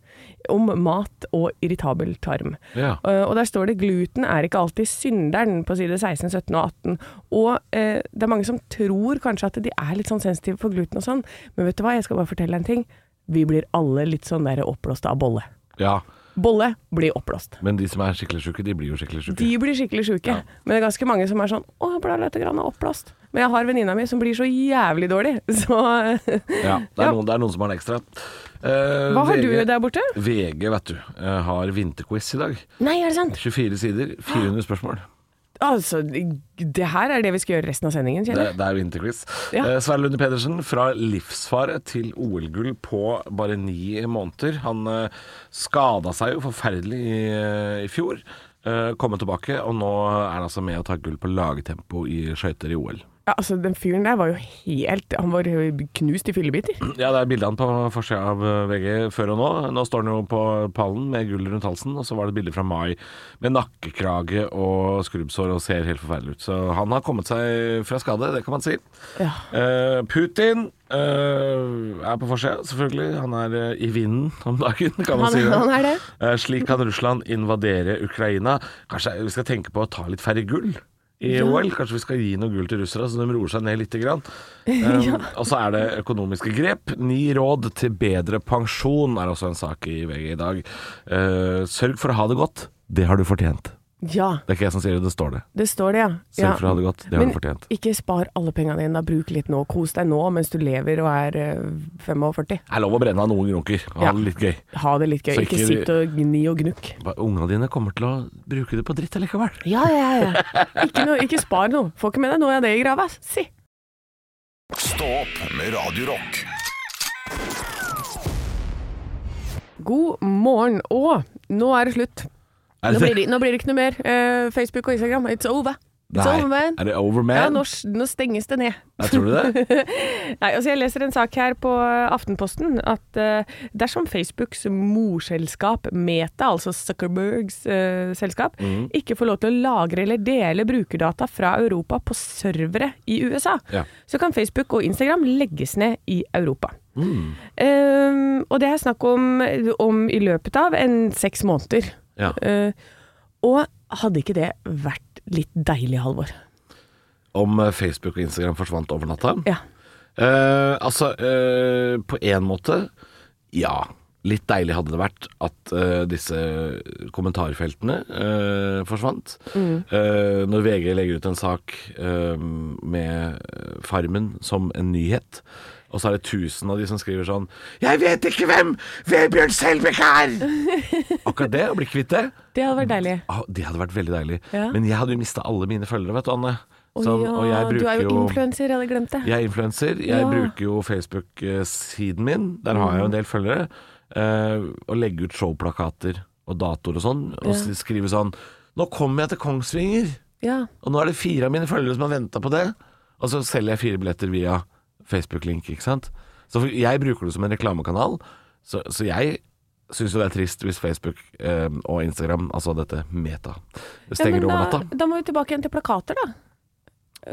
Speaker 3: om mat og irritabel tarm.
Speaker 2: Ja.
Speaker 3: Eh, og der står det gluten er ikke alltid synderen på side 16, 17 og 18. Og eh, det er mange som tror kanskje at de er litt sånn sensitive for gluten og sånn, men vet du hva, jeg skal bare fortelle deg en ting. Vi blir alle litt sånn der oppblåste av bolle.
Speaker 2: ja.
Speaker 3: Bolle blir oppblåst.
Speaker 2: Men de som er skikkelig sjuke, de blir jo skikkelig sjuke.
Speaker 3: De blir skikkelig sjuke. Men det er ganske mange som er sånn Å, jeg ble litt grann oppblåst. Men jeg har venninna mi som blir så jævlig dårlig, så
Speaker 2: Ja, det er,
Speaker 3: Ja.
Speaker 2: Noen, det er noen som har en ekstra. Eh,
Speaker 3: Hva har du der borte?
Speaker 2: VG, vet du, eh, har vinterquiz i dag.
Speaker 3: Nei, er det sant?
Speaker 2: 24 sider, 400 spørsmål.
Speaker 3: Altså, det her er det vi skal gjøre resten av sendingen,
Speaker 2: Det,
Speaker 3: kjenner jeg.
Speaker 2: det er vinterquiz.
Speaker 3: Ja.
Speaker 2: Eh, Sverre Lunde Pedersen, fra livsfare til OL-gull på bare ni måneder. Han eh, skada seg jo forferdelig i, eh, i fjor. Eh, Kommet tilbake, og nå er han altså med å ta gull på lagtempo i skøyter i OL.
Speaker 3: Ja, altså, den fyren der var jo helt Han var knust i fyllebiter.
Speaker 2: Ja, det er bildene på forsida av eh, VG før og nå. Nå står han jo på pallen med gull rundt halsen, og så var det et bilde fra mai med nakkekrage og skrubbsår og ser helt forferdelig ut. Så han har kommet seg fra skade, det kan man si.
Speaker 3: Ja.
Speaker 2: Eh, Putin eh, er på forsida, selvfølgelig. Han er eh, i vinden om dagen, kan man
Speaker 3: Han-
Speaker 2: si det.
Speaker 3: han er det.
Speaker 2: Eh, slik kan Russland invadere Ukraina. Kanskje vi skal tenke på å ta litt færre gull? I OL, Kanskje vi skal gi noe gull til russere, så de roer seg ned lite grann. Um, Og så er det økonomiske grep. Ni råd til bedre pensjon er også en sak i VG i dag. Eh, sørg for å ha det godt. Det har du fortjent.
Speaker 3: Ja,
Speaker 2: Det er ikke jeg som sier det, det står det.
Speaker 3: det står det, ja.
Speaker 2: Sørg
Speaker 3: ja.
Speaker 2: for å ha det godt. Det har
Speaker 3: Men
Speaker 2: du fortjent.
Speaker 3: Ikke spar alle pengene dine, da. bruk litt nå. Kos deg nå mens du lever og er eh, 45.
Speaker 2: Det er lov å brenne av noen grunker og ha
Speaker 3: Ja.
Speaker 2: det litt gøy.
Speaker 3: Ha det litt gøy.
Speaker 2: Så
Speaker 3: Ikke,
Speaker 2: ikke-
Speaker 3: sitt og gni og gnukk.
Speaker 2: Ba- Ungene dine kommer til å bruke det på dritt allikevel.
Speaker 3: Ja, ja, ja. Ikke, noe, ikke spar noe. Får ikke med deg noe av det i grava. Si.
Speaker 1: Stå opp med Radio Rock.
Speaker 3: God morgen. Og nå er det slutt.
Speaker 2: Er
Speaker 3: Nå
Speaker 2: det,
Speaker 3: blir det, nå blir det ikke noe mer eh, Facebook og Instagram. It's over. It's over,
Speaker 2: Nei,
Speaker 3: man.
Speaker 2: er det over,
Speaker 3: Ja,
Speaker 2: man?
Speaker 3: nå, s- nå stenges det ned.
Speaker 2: Jeg tror du det?
Speaker 3: Nei, altså Jeg leser en sak her på eh, Aftenposten at eh, dersom Facebooks morselskap Meta, altså Zuckerbergs eh, selskap,
Speaker 2: Mhm.
Speaker 3: ikke får lov til å lagre eller dele brukerdata fra Europa på servere i USA,
Speaker 2: Ja.
Speaker 3: så kan Facebook og Instagram legges ned i Europa.
Speaker 2: Mm.
Speaker 3: Eh, og det er snakk om, om i løpet av en seks måneder.
Speaker 2: Ja.
Speaker 3: Eh, og hadde ikke det vært litt deilig, Halvor?
Speaker 2: Om eh, Facebook og Instagram forsvant over natta?
Speaker 3: Ja.
Speaker 2: Eh, altså, eh, på en måte, ja. Litt deilig hadde det vært at eh, disse kommentarfeltene eh, forsvant.
Speaker 3: Mm.
Speaker 2: Eh, når VG legger ut en sak eh, med Farmen som en nyhet, og så er det tusen av de som skriver sånn 'Jeg vet ikke hvem Vebjørn Selbekk er!' Akkurat det, å bli kvitt det.
Speaker 3: Det hadde vært deilig.
Speaker 2: Ah, det hadde vært veldig deilig.
Speaker 3: Ja.
Speaker 2: Men jeg hadde jo mista alle mine følgere, vet du, Anne.
Speaker 3: Å
Speaker 2: Sånn,
Speaker 3: ja,
Speaker 2: og jeg
Speaker 3: du
Speaker 2: bruker
Speaker 3: er jo influenser, jeg hadde glemt det.
Speaker 2: jeg er influenser. Jeg
Speaker 3: Ja.
Speaker 2: bruker jo Facebook-siden min. Der har jeg jo en del følgere. eh, og legger ut showplakater og datoer og sånn. Og s- skriver sånn Nå kommer jeg til Kongsvinger!
Speaker 3: Ja.
Speaker 2: Og nå er det fire av mine følgere som har venta på det. Og så selger jeg fire billetter via Facebook-link, ikke sant. Så for- jeg bruker det som en reklamekanal. Så, så jeg syns jo det er trist hvis Facebook eh, og Instagram, altså dette Meta, stenger
Speaker 3: ja, men
Speaker 2: over
Speaker 3: da,
Speaker 2: natta.
Speaker 3: Da må vi tilbake igjen til plakater, da.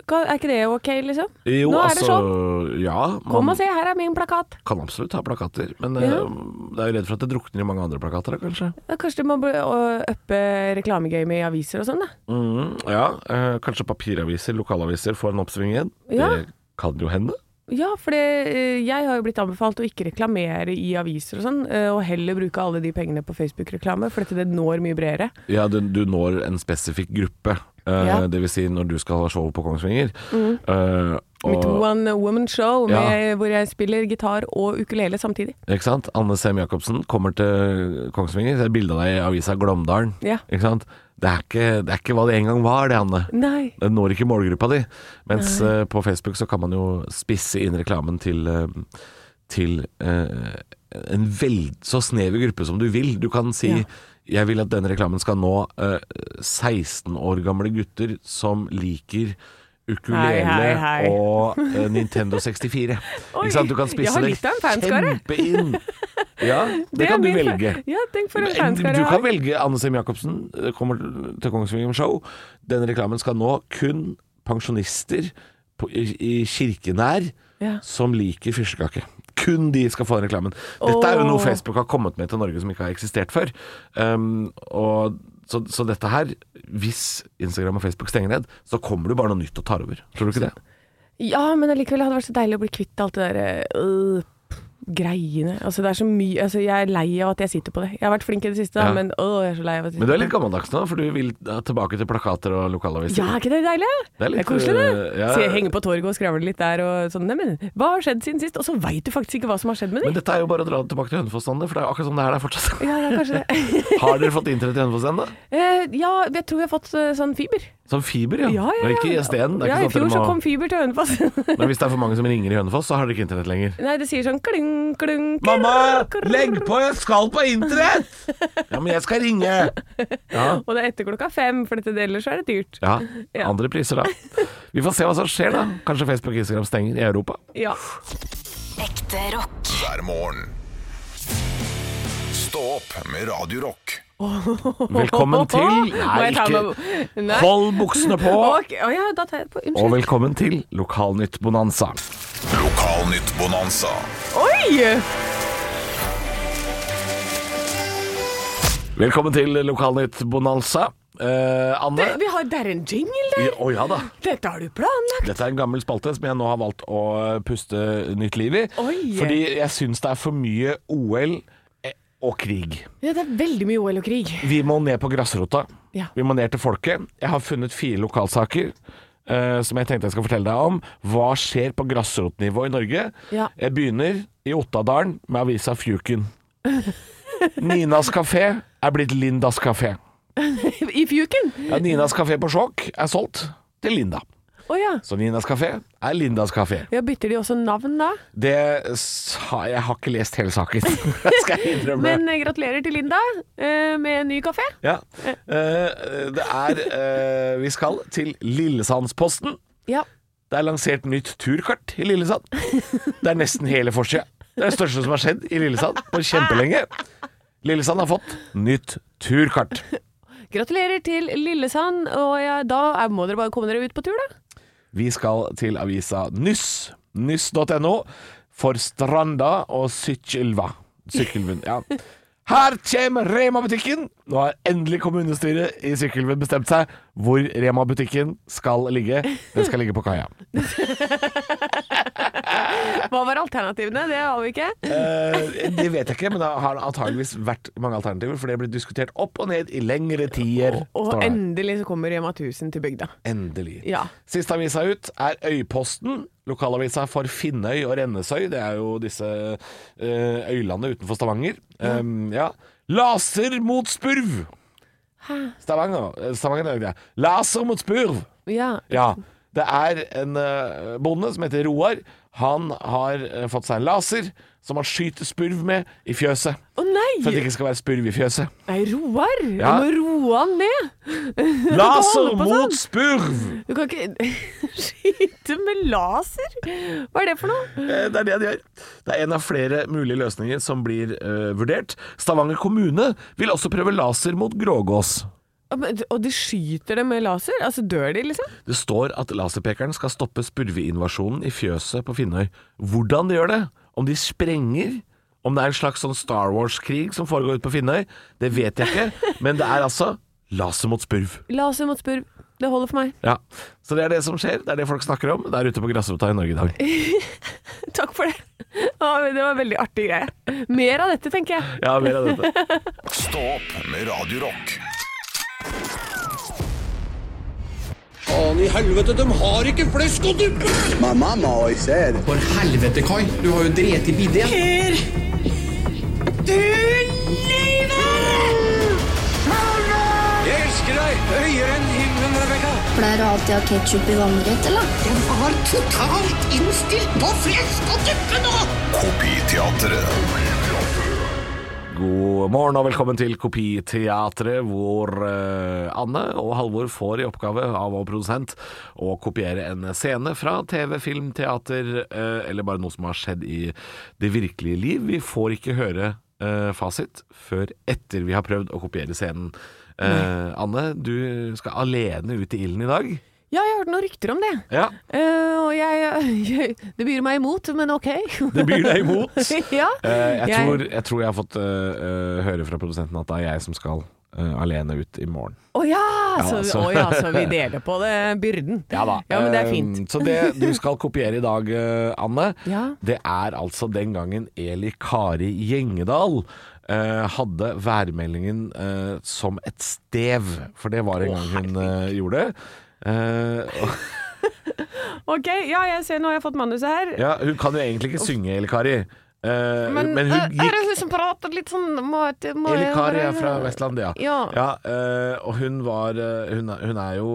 Speaker 3: Ka- Er ikke det ok, liksom?
Speaker 2: Jo,
Speaker 3: Nå er det sånn.
Speaker 2: altså Ja.
Speaker 3: Kom
Speaker 2: man-
Speaker 3: og se, her er min plakat.
Speaker 2: kan absolutt ha plakater, men
Speaker 3: Ja.
Speaker 2: eh, det er jo redd for at det drukner i mange andre plakater, da, kanskje.
Speaker 3: Da kanskje du må bli- å, uppe reklamegame i aviser og sånn, da.
Speaker 2: Mm, ja, eh, kanskje papiraviser, lokalaviser får en oppsving igjen.
Speaker 3: Ja.
Speaker 2: Det kan jo hende.
Speaker 3: Ja, for det, eh, jeg har jo blitt anbefalt å ikke reklamere i aviser og sånn, eh, og heller bruke alle de pengene på Facebook-reklame, for dette det når mye bredere.
Speaker 2: Ja, du, du når en spesifikk gruppe. Eh,
Speaker 3: Ja.
Speaker 2: Det vil si når du skal ha show på Kongsvinger. Eh,
Speaker 3: Mitt
Speaker 2: og,
Speaker 3: one woman show med,
Speaker 2: Ja.
Speaker 3: hvor jeg spiller gitar og ukulele samtidig.
Speaker 2: ikke sant? Anne Sem Jacobsen kommer til Kongsvinger. Det er bilde av deg i avisa Glåmdalen.
Speaker 3: Ja.
Speaker 2: Ikke sant? Det, er ikke, det er ikke hva det en gang var, det, Anne.
Speaker 3: Nei.
Speaker 2: Det Eh, når ikke målgruppa di. Mens eh, på Facebook så kan man jo spisse inn reklamen til, eh, til eh, en vel, så snever gruppe som du vil. Du kan si
Speaker 3: Ja.
Speaker 2: jeg vil at denne reklamen skal nå eh, 16 år gamle gutter som liker ukulele
Speaker 3: Hei, hei, hei.
Speaker 2: og eh, Nintendo 64.
Speaker 3: Oi,
Speaker 2: ikke sant? Du kan
Speaker 3: jeg har
Speaker 2: spisse
Speaker 3: litt av en fanskare.
Speaker 2: kjempeinn. Ja, det,
Speaker 3: er
Speaker 2: kan du
Speaker 3: min fa-
Speaker 2: velge.
Speaker 3: Ja, tenk for en
Speaker 2: Men
Speaker 3: fanskare
Speaker 2: Du
Speaker 3: jeg
Speaker 2: kan
Speaker 3: har.
Speaker 2: velge Anne Sem Jacobsen eh, kommer til Kongsvinger med show. Denne reklamen skal nå kun pensjonister på, i, i kirkenær
Speaker 3: Ja.
Speaker 2: som liker fyrstekake. Kun de skal få den reklamen. Dette er jo noe
Speaker 3: Åh.
Speaker 2: Facebook har kommet med til Norge som ikke har eksistert før. Um, og så, så dette her, hvis Instagram og Facebook stenger ned, så kommer det bare noe nytt og tar over. Tror du ikke det?
Speaker 3: Ja, men allikevel hadde det vært så deilig å bli kvitt alt det der øh, greiene Altså, det er så mye altså, Jeg er lei av at jeg sitter på det. Jeg har vært flink i det siste, da,
Speaker 2: Ja.
Speaker 3: men å, jeg er så lei av at jeg
Speaker 2: Men du
Speaker 3: sitter
Speaker 2: er litt gammeldags nå, for du vil eh, tilbake til plakater og lokalaviser.
Speaker 3: Ja, er ikke det deilig?
Speaker 2: Det er litt,
Speaker 3: koselig, det.
Speaker 2: øh, ja.
Speaker 3: Så jeg henger på torget og skravler litt der og sånn. Nei, men hva har skjedd siden sist? Og så veit du faktisk ikke hva som har skjedd med
Speaker 2: Men
Speaker 3: dem.
Speaker 2: dette er jo bare å dra det tilbake til Hønefoss-standet, for det er jo akkurat sånn det er der fortsatt.
Speaker 3: Ja, ja, kanskje det.
Speaker 2: Har dere fått internett i Hønefoss ennå?
Speaker 3: Eh, ja, jeg tror vi har fått eh, sånn fiber.
Speaker 2: Som fiber, ja.
Speaker 3: Ja, ja, ja.
Speaker 2: Og ikke ISD-en. Det er
Speaker 3: ja,
Speaker 2: ikke
Speaker 3: I fjor
Speaker 2: sånn at
Speaker 3: så
Speaker 2: dere
Speaker 3: kom
Speaker 2: må...
Speaker 3: fiber til Hønefoss.
Speaker 2: Men hvis det er for mange som ringer i Hønefoss, så har dere ikke internett lenger.
Speaker 3: Nei, det sier sånn kling, kling krr, krr.
Speaker 2: på! Jeg skal på internett! Ja, men jeg skal ringe! Ja.
Speaker 3: Og det er etter klokka fem, for dette ellers så er det dyrt.
Speaker 2: ja.
Speaker 3: Ja.
Speaker 2: Andre priser, da. Vi får se hva som skjer, da. Kanskje Facebook og Instagram stenger i Europa.
Speaker 3: Ja.
Speaker 4: Ekte rock.
Speaker 1: hver morgen. Stå opp med Radio Rock.
Speaker 2: Velkommen til
Speaker 3: Må jeg ta meg- Nei.
Speaker 2: Hold buksene på!
Speaker 3: Ok, Å ja, da tar jeg det på.
Speaker 2: Og
Speaker 3: Unnskyld.
Speaker 2: velkommen til Lokalnytt Bonanza.
Speaker 1: Lokalnytt Bonanza.
Speaker 3: Oi!
Speaker 2: Velkommen til Lokalnytt Bonanza. Eh, Anne?
Speaker 3: Vi har der en jingle
Speaker 2: Å
Speaker 3: der.
Speaker 2: ja, da.
Speaker 3: Dette har du planlagt.
Speaker 2: Dette er en gammel spalte som jeg nå har valgt å puste nytt liv i.
Speaker 3: Oi.
Speaker 2: Fordi jeg syns det er for mye OL eh, og krig.
Speaker 3: Ja, det er veldig mye OL og krig.
Speaker 2: Vi må ned på grasrota.
Speaker 3: Ja.
Speaker 2: Vi må ned til folket. Jeg har funnet fire lokalsaker. eh, som jeg tenkte jeg skal fortelle deg om. Hva skjer på grasrotnivå i Norge?
Speaker 3: Ja.
Speaker 2: Jeg begynner i Ottadalen med avisa Fjuken. Ninas kafé er blitt Lindas kafé.
Speaker 3: I fjuken.
Speaker 2: Ja, Ninas kafé på Skjåk er solgt til Linda.
Speaker 3: Å ja.
Speaker 2: Så Ninas kafé er Lindas kafé.
Speaker 3: ja. Bytter de også navn da?
Speaker 2: Det sa Jeg har ikke lest hele saken, det skal jeg innrømme.
Speaker 3: Men eh, gratulerer til Linda eh, med en ny kafé.
Speaker 2: ja. Eh, det er eh, Vi skal til Lillesandsposten.
Speaker 3: Ja.
Speaker 2: Det er lansert nytt turkart i Lillesand. Det er nesten hele forsida. Det er det største som har skjedd i Lillesand på kjempelenge. Lillesand har fått nytt turkart.
Speaker 3: Gratulerer til Lillesand, og ja, da er- må dere bare komme dere ut på tur, da.
Speaker 2: Vi skal til avisa Nyss. Nyss.no for Stranda og Sykkylva. Sykkylven, ja. Her kommer Rema-butikken! Nå har endelig kommunestyret i Sykkylven bestemt seg hvor Rema-butikken skal ligge. Den skal ligge på kaia.
Speaker 3: Hva var alternativene? Det har vi ikke.
Speaker 2: Eh, det vet jeg ikke, men det har antageligvis vært mange alternativer, for det blir diskutert opp og ned i lengre tider.
Speaker 3: Og
Speaker 2: står det her.
Speaker 3: endelig så kommer Rema 1000 til bygda.
Speaker 2: Endelig.
Speaker 3: Ja.
Speaker 2: Siste avisa ut er Øyposten. Lokalavisa for Finnøy og Rennesøy. Det er jo disse eh, øylandene utenfor Stavanger. Um, ja. Laser mot spurv! Stavanger, eh, Stavanger er det. Laser mot spurv!
Speaker 3: Ja.
Speaker 2: Ja. Det er en eh, bonde som heter Roar. Han har eh, fått seg en laser som han skyter spurv med i fjøset.
Speaker 3: Å
Speaker 2: For at det
Speaker 3: nei!
Speaker 2: ikke skal være spurv i fjøset.
Speaker 3: Nei, Roar!
Speaker 2: Ja.
Speaker 3: Du må roe han ned!
Speaker 2: Laser
Speaker 3: holde på sånn.
Speaker 2: mot spurv!
Speaker 3: Du kan ikke skyte med laser! Hva er det for noe?
Speaker 2: Eh, Det er det de gjør. Det er en av flere mulige løsninger som blir eh, vurdert. Stavanger kommune vil også prøve laser mot grågås.
Speaker 3: Ja, men- Og de skyter det med laser? Altså, dør de, liksom?
Speaker 2: Det står at laserpekeren skal stoppe spurveinvasjonen i fjøset på Finnøy. Hvordan de gjør det, om de sprenger, om det er en slags sånn Star Wars-krig som foregår ute på Finnøy, det vet jeg ikke, men det er altså laser mot spurv.
Speaker 3: Laser mot spurv. Det holder for meg.
Speaker 2: Ja. Så det er det som skjer, det er det folk snakker om der ute på grasrota i Norge i dag.
Speaker 3: Takk for det. Ja, men Det var en veldig artig greie. Mer av dette, tenker jeg.
Speaker 2: Ja, mer av dette.
Speaker 1: Stå opp med Radio Rock.
Speaker 7: My mama always said,
Speaker 8: For helvete, Kai. Du har jo dret i bidet.
Speaker 9: Pleier du alltid å ha ketsjup i vannrett, eller?
Speaker 1: Kopiteatret.
Speaker 2: God morgen og velkommen til Kopiteatret, hvor eh, Anne og Halvor får i oppgave av vår produsent å kopiere en scene fra TV, film, teater eh, eller bare noe som har skjedd i det virkelige liv. Vi får ikke høre eh, fasit før etter vi har prøvd å kopiere scenen. Eh, Anne, du skal alene ut i ilden i dag.
Speaker 3: Ja, jeg har hørt noen rykter om det.
Speaker 2: Ja,
Speaker 3: Eh, og jeg, jeg Det byr meg imot, men OK.
Speaker 2: det byr deg imot.
Speaker 3: ja.
Speaker 2: Eh, jeg,
Speaker 3: Jeg-
Speaker 2: tror, jeg tror jeg har fått eh, eh, høre fra produsenten at det er jeg som skal eh, alene ut i morgen.
Speaker 3: Å ja,
Speaker 2: Ja,
Speaker 3: så,
Speaker 2: så-
Speaker 3: å ja, så vi deler på det, byrden. Ja, men det er fint.
Speaker 2: Eh, Så det du skal kopiere i dag, eh, Anne,
Speaker 3: Ja.
Speaker 2: det er altså den gangen Eli Kari Gjengedal eh, hadde værmeldingen eh, som et stev. For det var en gang hun eh, gjorde det. Eh, og-
Speaker 3: Ok, ja, jeg ser nå har jeg fått manuset her.
Speaker 2: ja, hun kan jo egentlig ikke synge, Eli Kari. Eh, men,
Speaker 3: eh,
Speaker 2: hun gikk
Speaker 3: Er det hun som prater litt sånn må, jeg- må
Speaker 2: Eli
Speaker 3: jeg
Speaker 2: Kari
Speaker 3: høre-
Speaker 2: er fra Vestland, ja.
Speaker 3: Ja.
Speaker 2: eh, og hun var eh, hun, er- hun er jo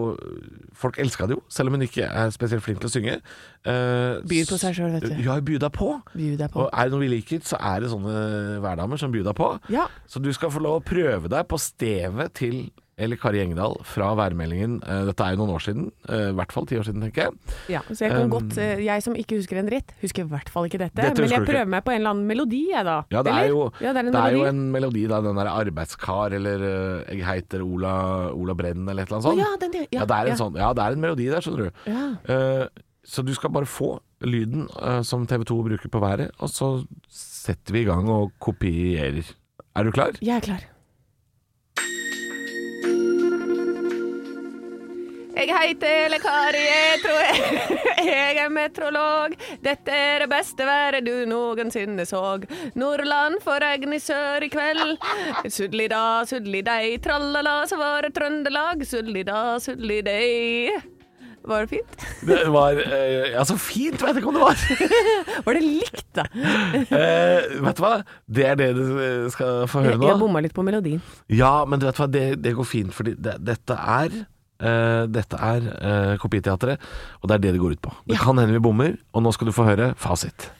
Speaker 2: Folk elska det jo, selv om hun ikke er spesielt flink til å synge. Eh,
Speaker 3: Byr på seg selv, vet du.
Speaker 2: Ja, byr deg på.
Speaker 3: Byr deg på.
Speaker 2: Og er det noe vi liker, så er det sånne hverdamer som byr deg på.
Speaker 3: Ja.
Speaker 2: Så du skal få lov å prøve deg på stevet til Eli Kari Engedal fra værmeldingen. Eh, dette er jo noen år siden. eh, I hvert fall ti år siden, tenker jeg.
Speaker 3: Ja, så jeg kan
Speaker 2: Um,
Speaker 3: godt eh, Jeg som ikke husker en dritt, husker i hvert fall ikke dette.
Speaker 2: Dette
Speaker 3: men
Speaker 2: husker
Speaker 3: jeg
Speaker 2: du ikke.
Speaker 3: prøver meg på en eller annen melodi, jeg da.
Speaker 2: Ja, det er
Speaker 3: Eller?
Speaker 2: jo,
Speaker 3: ja, det er en
Speaker 2: det er
Speaker 3: melodi.
Speaker 2: jo en melodi, da. Den derre 'Arbeidskar' eller eh, 'Jeg heiter Ola, Ola Brenn' eller et eller annet sånt.
Speaker 3: Å, ja, den der, ja,
Speaker 2: det er en
Speaker 3: ja.
Speaker 2: sånn. Ja, det er en melodi der, skjønner du.
Speaker 3: Ja.
Speaker 2: Eh, så du skal bare få lyden eh, som TV 2 bruker på været, og så setter vi i gang og kopierer. Er du klar?
Speaker 3: Jeg er klar. Jeg heter Eli Kari, jeg tror jeg, jeg er meteorolog. Dette er det beste været du noensinne så. Nordland får regn i sør i kveld. Sudli da, sudli dei, tralala, så var det Trøndelag. Sudli da, sudli dei. Var det fint?
Speaker 2: Det var eh, Ja, så fint! Vet jeg ikke om det var.
Speaker 3: Var det likt, da?
Speaker 2: Eh, vet du hva? Det er det du eh, skal få høre nå.
Speaker 3: bomma litt på melodien.
Speaker 2: Ja, men du vet hva, det, det går fint, fordi det, dette er eh, dette er eh, Kopiteatret, og det er det det går ut på. Det kan hende vi bommer, og nå skal du få høre fasit.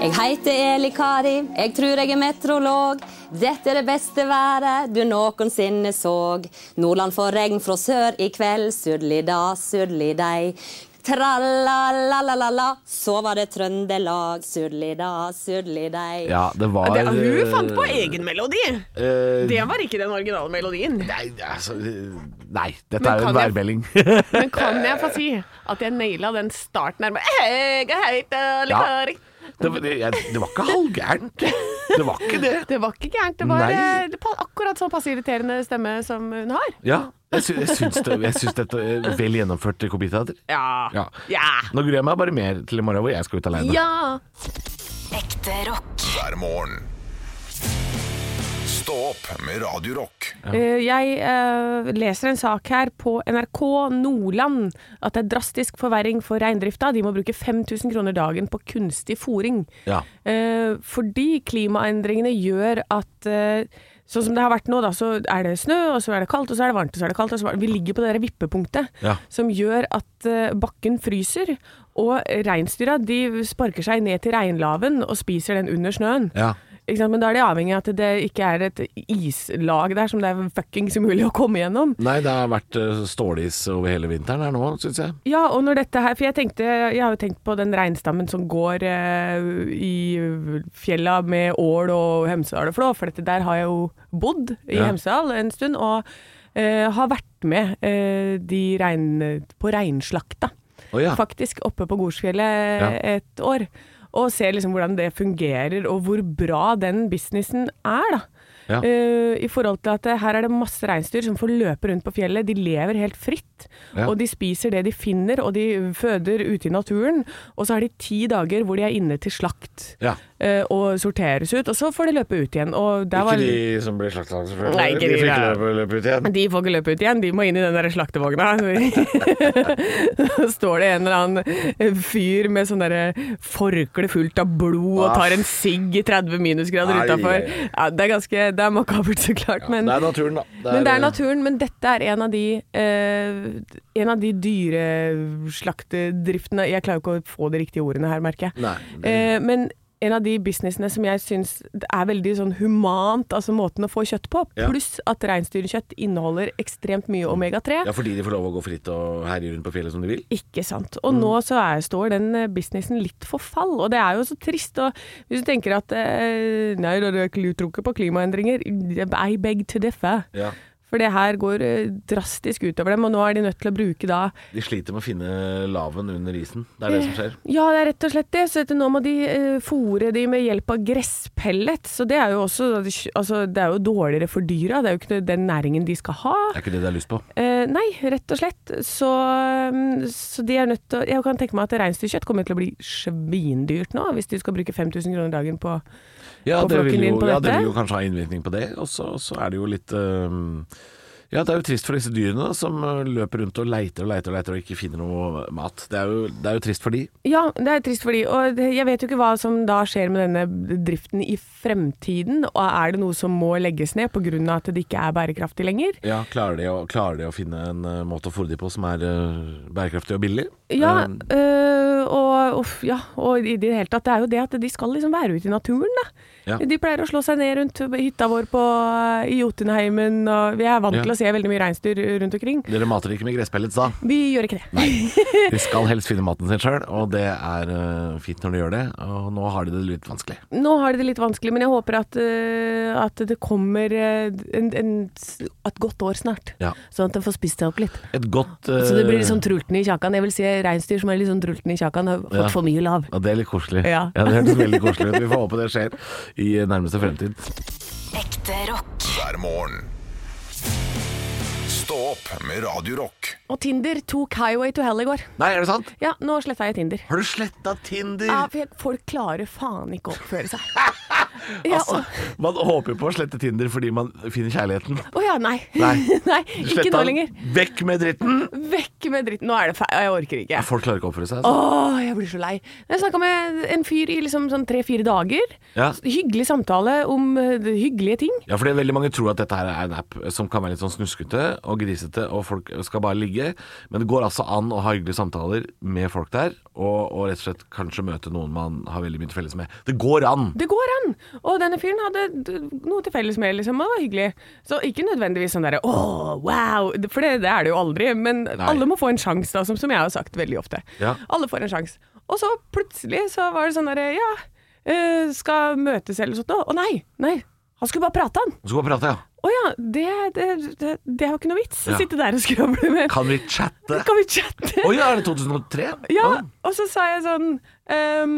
Speaker 7: Jeg heter Eli Kari, jeg tror jeg er meteorolog. Dette er det beste været du noensinne så. Nordland får regn fra sør i kveld, sudli da, sudli dei. Tralla-la-la-la-la, så var det Trøndelag, sudli da, sudli dei.
Speaker 2: Ja, det var
Speaker 3: hun fant på egen melodi!
Speaker 2: eh,
Speaker 3: Det var ikke den originale melodien.
Speaker 2: Nei, altså, eh, nei, dette
Speaker 3: Men
Speaker 2: er jo en
Speaker 3: kan jeg-
Speaker 2: værmelding.
Speaker 3: Men kan jeg få si at jeg naila den starten her med «Hei, jeg heter Liv
Speaker 2: Ja.
Speaker 3: Kari».
Speaker 2: det, var- det, jeg, det var ikke halvgærent. Det var ikke det.
Speaker 3: Det var ikke gærent. Det var
Speaker 2: Nei.
Speaker 3: eh, det pa- akkurat sånn passe irriterende stemme som hun har.
Speaker 2: Ja, jeg, sy jeg, syns, det, jeg syns dette er vel gjennomført Kopiteater.
Speaker 3: Ja.
Speaker 2: Ja.
Speaker 3: Ja.
Speaker 2: Nå gruer jeg meg bare mer til i morgen hvor jeg skal ut alene.
Speaker 3: ja.
Speaker 4: Ekte rock.
Speaker 1: hver morgen. Stå opp med Radio Rock.
Speaker 3: Eh, Jeg eh, leser en sak her på NRK Nordland at det er drastisk forverring for reindrifta. De må bruke 5000 kroner dagen på kunstig fòring.
Speaker 2: Ja.
Speaker 3: Eh, fordi klimaendringene gjør at eh, Sånn som det har vært nå, da, så er det snø, og så er det kaldt, og så er det varmt, og så er det kaldt. Og så er det, vi ligger på det der vippepunktet
Speaker 2: Ja.
Speaker 3: som gjør at eh, bakken fryser. Og reinsdyra de sparker seg ned til reinlaven og spiser den under snøen.
Speaker 2: Ja.
Speaker 3: Ikke sant? Men da er de avhengig av at det ikke er et islag der som det er fuckings umulig å komme gjennom.
Speaker 2: Nei, det har vært eh, stålis over hele vinteren her nå, syns jeg.
Speaker 3: Ja, og når dette her For jeg tenkte Jeg har jo tenkt på den reinstammen som går eh, i fjella med ål og Hemsedal og flå, for dette der har jeg jo bodd i
Speaker 2: Ja.
Speaker 3: Hemsedal en stund, og eh, har vært med eh, de rein, på reinslakta.
Speaker 2: Å ja.
Speaker 3: Faktisk oppe på Gorsfjellet
Speaker 2: Ja.
Speaker 3: et år. Og ser liksom hvordan det fungerer, og hvor bra den businessen er, da.
Speaker 2: Ja.
Speaker 3: Eh, I forhold til at eh, her er det masse reinsdyr som får løpe rundt på fjellet. De lever helt fritt.
Speaker 2: Ja.
Speaker 3: Og de spiser det de finner, og de føder ute i naturen. Og så har de ti dager hvor de er inne til slakt
Speaker 2: Ja.
Speaker 3: eh, og sorteres ut. Og så får de løpe ut igjen. Og der var,
Speaker 2: Ikke de som ble slakta, selvfølgelig.
Speaker 3: Nei, ikke
Speaker 2: de
Speaker 3: de,
Speaker 2: fikk
Speaker 3: nei.
Speaker 2: løpe, løpe ut igjen.
Speaker 3: de får ikke løpe ut igjen, de må inn i den der slaktevogna. Så står det en eller annen fyr med sånn derre forkle fullt av blod og tar en sigg i 30 minusgrader
Speaker 2: Ah. Ai,
Speaker 3: utafor.
Speaker 2: ai, ai.
Speaker 3: Ja, det er ganske Det er makabert, så klart. Men,
Speaker 2: det er naturen, da.
Speaker 3: men
Speaker 2: eh,
Speaker 3: det er naturen. Men dette er en av de eh, En av de dyreslaktedriftene Jeg klarer jo ikke å få de riktige ordene her, merker jeg.
Speaker 2: Nei,
Speaker 3: Eh, men en av de businessene som jeg syns er veldig sånn humant, altså måten å få kjøtt på,
Speaker 2: Ja.
Speaker 3: pluss at reinsdyrkjøtt inneholder ekstremt mye omega-3.
Speaker 2: Ja, fordi de får lov å gå fritt og herje rundt på fjellet som de vil.
Speaker 3: Ikke sant. Og
Speaker 2: Mm.
Speaker 3: nå så er, står den eh, businessen litt for fall, og det er jo så trist. Og hvis du tenker at eh, nei, da, du tror ikke på klimaendringer I beg to differ.
Speaker 2: Ja.
Speaker 3: For det her går eh, drastisk utover dem, og nå er de nødt til å bruke da
Speaker 2: De sliter med å finne laven under isen. Det er det som skjer.
Speaker 3: Ja, det er rett og slett det. Så dette, nå må de eh, fôre de med hjelp av gresspellet. Så det er jo også altså, Det er jo dårligere for dyra. Det er jo ikke den næringen de skal ha.
Speaker 2: Det er ikke det de har lyst på.
Speaker 3: Eh, nei, rett og slett. Så, mm, så de er nødt til å Jeg kan tenke meg at reinsdyrkjøtt kommer til å bli svindyrt nå, hvis du skal bruke 5000 kroner dagen på
Speaker 2: Ja,
Speaker 3: på
Speaker 2: det
Speaker 3: flokken
Speaker 2: vil,
Speaker 3: din
Speaker 2: jo,
Speaker 3: på
Speaker 2: ja det
Speaker 3: dette?
Speaker 2: vil jo kanskje ha innvirkning på det. Og så så er det jo litt øhm, Ja, det er jo trist for disse dyrene da, som øh, løper rundt og leiter og leiter og leiter og ikke finner noe mat. Det er jo, det er jo trist for de.
Speaker 3: Ja, det er trist for de. Og det- jeg vet jo ikke hva som da skjer med denne driften i fremtiden. Og er det noe som må legges ned pga. at det ikke er bærekraftig lenger?
Speaker 2: Ja, klarer de å, klarer de å finne en øh, måte å fôre de på som er øh, bærekraftig og billig? Eh,
Speaker 3: Ja,
Speaker 2: Øhm,
Speaker 3: øh, og, uff, ja, og i det hele tatt, det er jo det at de skal liksom være ute i naturen, da.
Speaker 2: Ja.
Speaker 3: De pleier å slå seg ned rundt hytta vår på, i Jotunheimen, og vi er vant
Speaker 2: Ja.
Speaker 3: til å se veldig mye reinsdyr rundt omkring.
Speaker 2: dere mater ikke med gresspellets da?
Speaker 3: Vi gjør ikke det.
Speaker 2: De skal helst finne maten sin sjøl, og det er øh, fint når de gjør det. Og nå har de det litt vanskelig.
Speaker 3: Nå har de det litt vanskelig, men jeg håper at, øh, at det kommer øh, en, en, s- et godt år snart.
Speaker 2: Ja.
Speaker 3: Sånn at de får spist seg opp litt.
Speaker 2: Et godt
Speaker 3: Så det blir
Speaker 2: øh,
Speaker 3: litt sånn trulten i kjakan. Jeg vil si reinsdyr som er litt sånn trulten i kjakan, har fått
Speaker 2: Ja.
Speaker 3: for mye lav.
Speaker 2: Ja, det er litt koselig.
Speaker 3: Ja.
Speaker 2: det hørtes veldig koselig ut. Vi får håpe det skjer i øh, nærmeste fremtid.
Speaker 4: Ekte rock.
Speaker 1: hver morgen. Stå opp med Radio Rock.
Speaker 3: Og Tinder tok Highway to Hell i går.
Speaker 2: Nei, er det sant?
Speaker 3: Ja, nå sletta jeg Tinder.
Speaker 2: Har du sletta Tinder?
Speaker 3: Ja, for jeg- folk klarer faen ikke å oppføre seg. Ja,
Speaker 2: altså, man håper jo på å slette Tinder fordi man finner kjærligheten.
Speaker 3: Å å ja, nei.
Speaker 2: Nei.
Speaker 3: ikke nå lenger.
Speaker 2: Vekk med dritten!
Speaker 3: Vekk med dritten. Nå er det feil. Jeg orker ikke.
Speaker 2: Folk klarer ikke å oppføre seg.
Speaker 3: Å,
Speaker 2: Altså.
Speaker 3: jeg blir så lei. Jeg snakka med en fyr i liksom sånn tre-fire dager.
Speaker 2: Ja.
Speaker 3: Hyggelig samtale om eh, hyggelige ting.
Speaker 2: Ja, fordi veldig mange tror at dette her er en app som kan være litt sånn snuskete og grisete, og folk eh, skal bare ligge. Men det går altså an å ha hyggelige samtaler med folk der, og, og rett og slett kanskje møte noen man har veldig mye til felles med. Det går an!
Speaker 3: Det går an! Og denne fyren hadde d- noe til felles med, liksom, og det var hyggelig. Så ikke nødvendigvis sånn derre åh, wow, for det, det er det jo aldri. Men alle må få en sjanse, da, som, som jeg har sagt veldig ofte.
Speaker 2: Ja.
Speaker 3: Alle får en sjanse. Og så plutselig så var det sånn derre ja, eh, skal møtes eller sånt noe. Å nei, nei. Han skulle bare prate, han.
Speaker 2: Så gå og prate, ja.
Speaker 3: Å ja, det, det, det, det er jo ikke noe vits
Speaker 2: Ja.
Speaker 3: å sitte der og skravle med.
Speaker 2: Kan vi chatte?
Speaker 3: Kan vi chatte?
Speaker 2: Å ja, er det 2003?
Speaker 3: Ja,
Speaker 2: Å.
Speaker 3: og så sa jeg sånn ehm,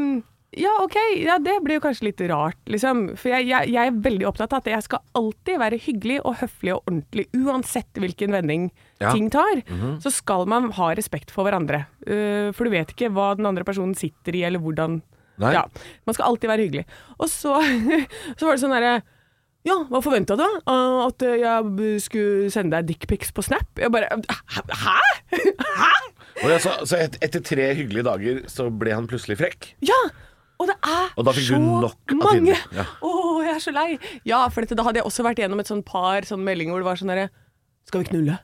Speaker 3: Ja, OK, ja, det blir jo kanskje litt rart, liksom. For jeg, jeg, jeg er veldig opptatt av at jeg skal alltid være hyggelig og høflig og ordentlig, uansett hvilken vending
Speaker 2: Ja. Mhm.
Speaker 3: ting tar. Så skal man ha respekt for hverandre. Eh, for du vet ikke hva den andre personen sitter i, eller hvordan
Speaker 2: Nei.
Speaker 3: Ja, Man skal alltid være hyggelig. Og så, så var det sånn derre ja, hva forventa du? da? Eh, At jeg b- skulle sende deg dickpics på Snap? Jeg bare Hæ?! Hæ?
Speaker 2: Og ja, altså, så, så et, etter tre hyggelige dager så ble han plutselig frekk?
Speaker 3: Ja! Og det er
Speaker 2: Og da fikk du
Speaker 3: så
Speaker 2: nok av
Speaker 3: mange!
Speaker 2: Tinder, ja.
Speaker 3: Å, jeg er så lei! Ja, for dette, da hadde jeg også vært gjennom et sånn par sånn meldinger hvor det var sånn derre Skal vi knulle?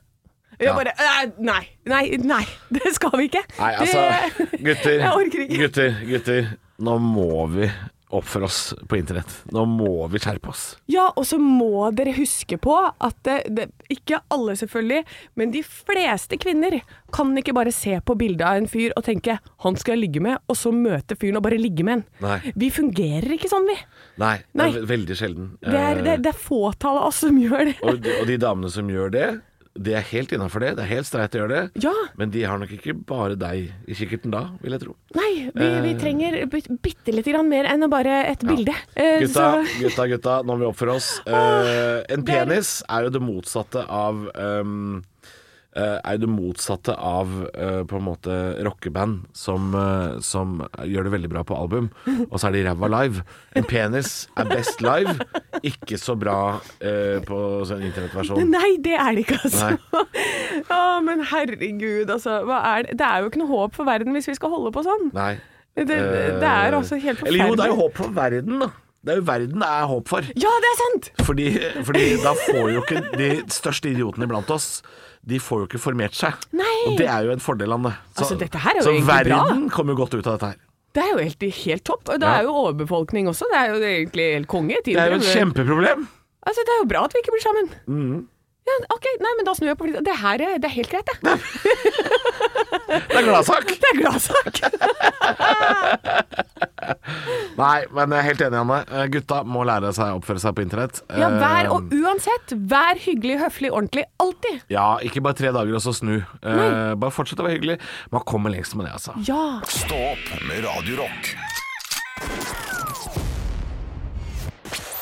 Speaker 2: Ja.
Speaker 3: Jeg bare «Eh, Nei, nei, nei, det skal vi ikke!
Speaker 2: Nei, altså,
Speaker 3: det,
Speaker 2: gutter,
Speaker 3: Jeg orker ikke.
Speaker 2: gutter, gutter. Nå må vi oppføre oss på internett. Nå må vi skjerpe oss.
Speaker 3: Ja, og så må dere huske på at det, det, Ikke alle, selvfølgelig, men de fleste kvinner kan ikke bare se på bildet av en fyr og tenke 'han skal jeg ligge med', og så møte fyren og bare ligge med
Speaker 2: Nei.
Speaker 3: han. Vi fungerer ikke sånn, vi.
Speaker 2: Nei,
Speaker 3: Nei.
Speaker 2: det er ve- veldig sjelden.
Speaker 3: Det er, det, det er fåtallet av oss som gjør det.
Speaker 2: Eh, og, de, og de damene som gjør det, de er helt innafor det. Det er helt streit å gjøre det.
Speaker 3: Ja.
Speaker 2: Men de har nok ikke bare deg i kikkerten da, vil jeg tro.
Speaker 3: Nei, vi, vi
Speaker 2: Eh.
Speaker 3: trenger bit- bitte lite grann mer enn bare et bilde. Eh,
Speaker 2: Gutta,
Speaker 3: så-
Speaker 2: gutta, gutta, nå må vi oppføre oss. Eh, en penis er jo det motsatte av ehm, eh, Er jo det motsatte av eh, på en måte rockeband som, eh, som gjør det veldig bra på album, og så er de ræva live. En penis er best live, ikke så bra eh, på sånn internettversjon.
Speaker 3: Nei, det er det ikke, altså. Å, men herregud, altså. Hva er det? det er jo ikke noe håp for verden hvis vi skal holde på sånn.
Speaker 2: Nei. Eh,
Speaker 3: Det, det er altså helt forferdelig.
Speaker 2: Eller jo, det er jo håp for verden, da. Det er jo verden det er håp for.
Speaker 3: Ja, det er sant!
Speaker 2: Fordi, fordi da får jo ikke de største idiotene blant oss De får jo ikke formert seg.
Speaker 3: Nei.
Speaker 2: Og det er jo en fordel, Anne. Så,
Speaker 3: Altså, dette her er jo
Speaker 2: så
Speaker 3: egentlig bra.
Speaker 2: verden kommer jo godt ut av dette her.
Speaker 3: Det er jo helt, helt topp. Og det
Speaker 2: Ja.
Speaker 3: er jo overbefolkning også. Det er jo egentlig helt konge.
Speaker 2: Det er jo et kjempeproblem.
Speaker 3: Altså, det er jo bra at vi ikke blir sammen.
Speaker 2: Mm.
Speaker 3: Ja, ok, nei, men da snur jeg på flisa. Det her er, det er helt greit, det.
Speaker 2: Det er gladsak.
Speaker 3: Det er gladsak.
Speaker 2: Nei, men jeg er helt enig, Anne. Eh, Gutta må lære seg å oppføre seg på internett.
Speaker 3: Ja, vær og
Speaker 2: Eh,
Speaker 3: uansett. Vær hyggelig, høflig, ordentlig. Alltid.
Speaker 2: Ja, ikke bare tre dager og så snu. Eh, bare fortsett å være hyggelig. Man kommer lengst med det, altså.
Speaker 3: Ja.
Speaker 1: Stå opp med Radio Rock.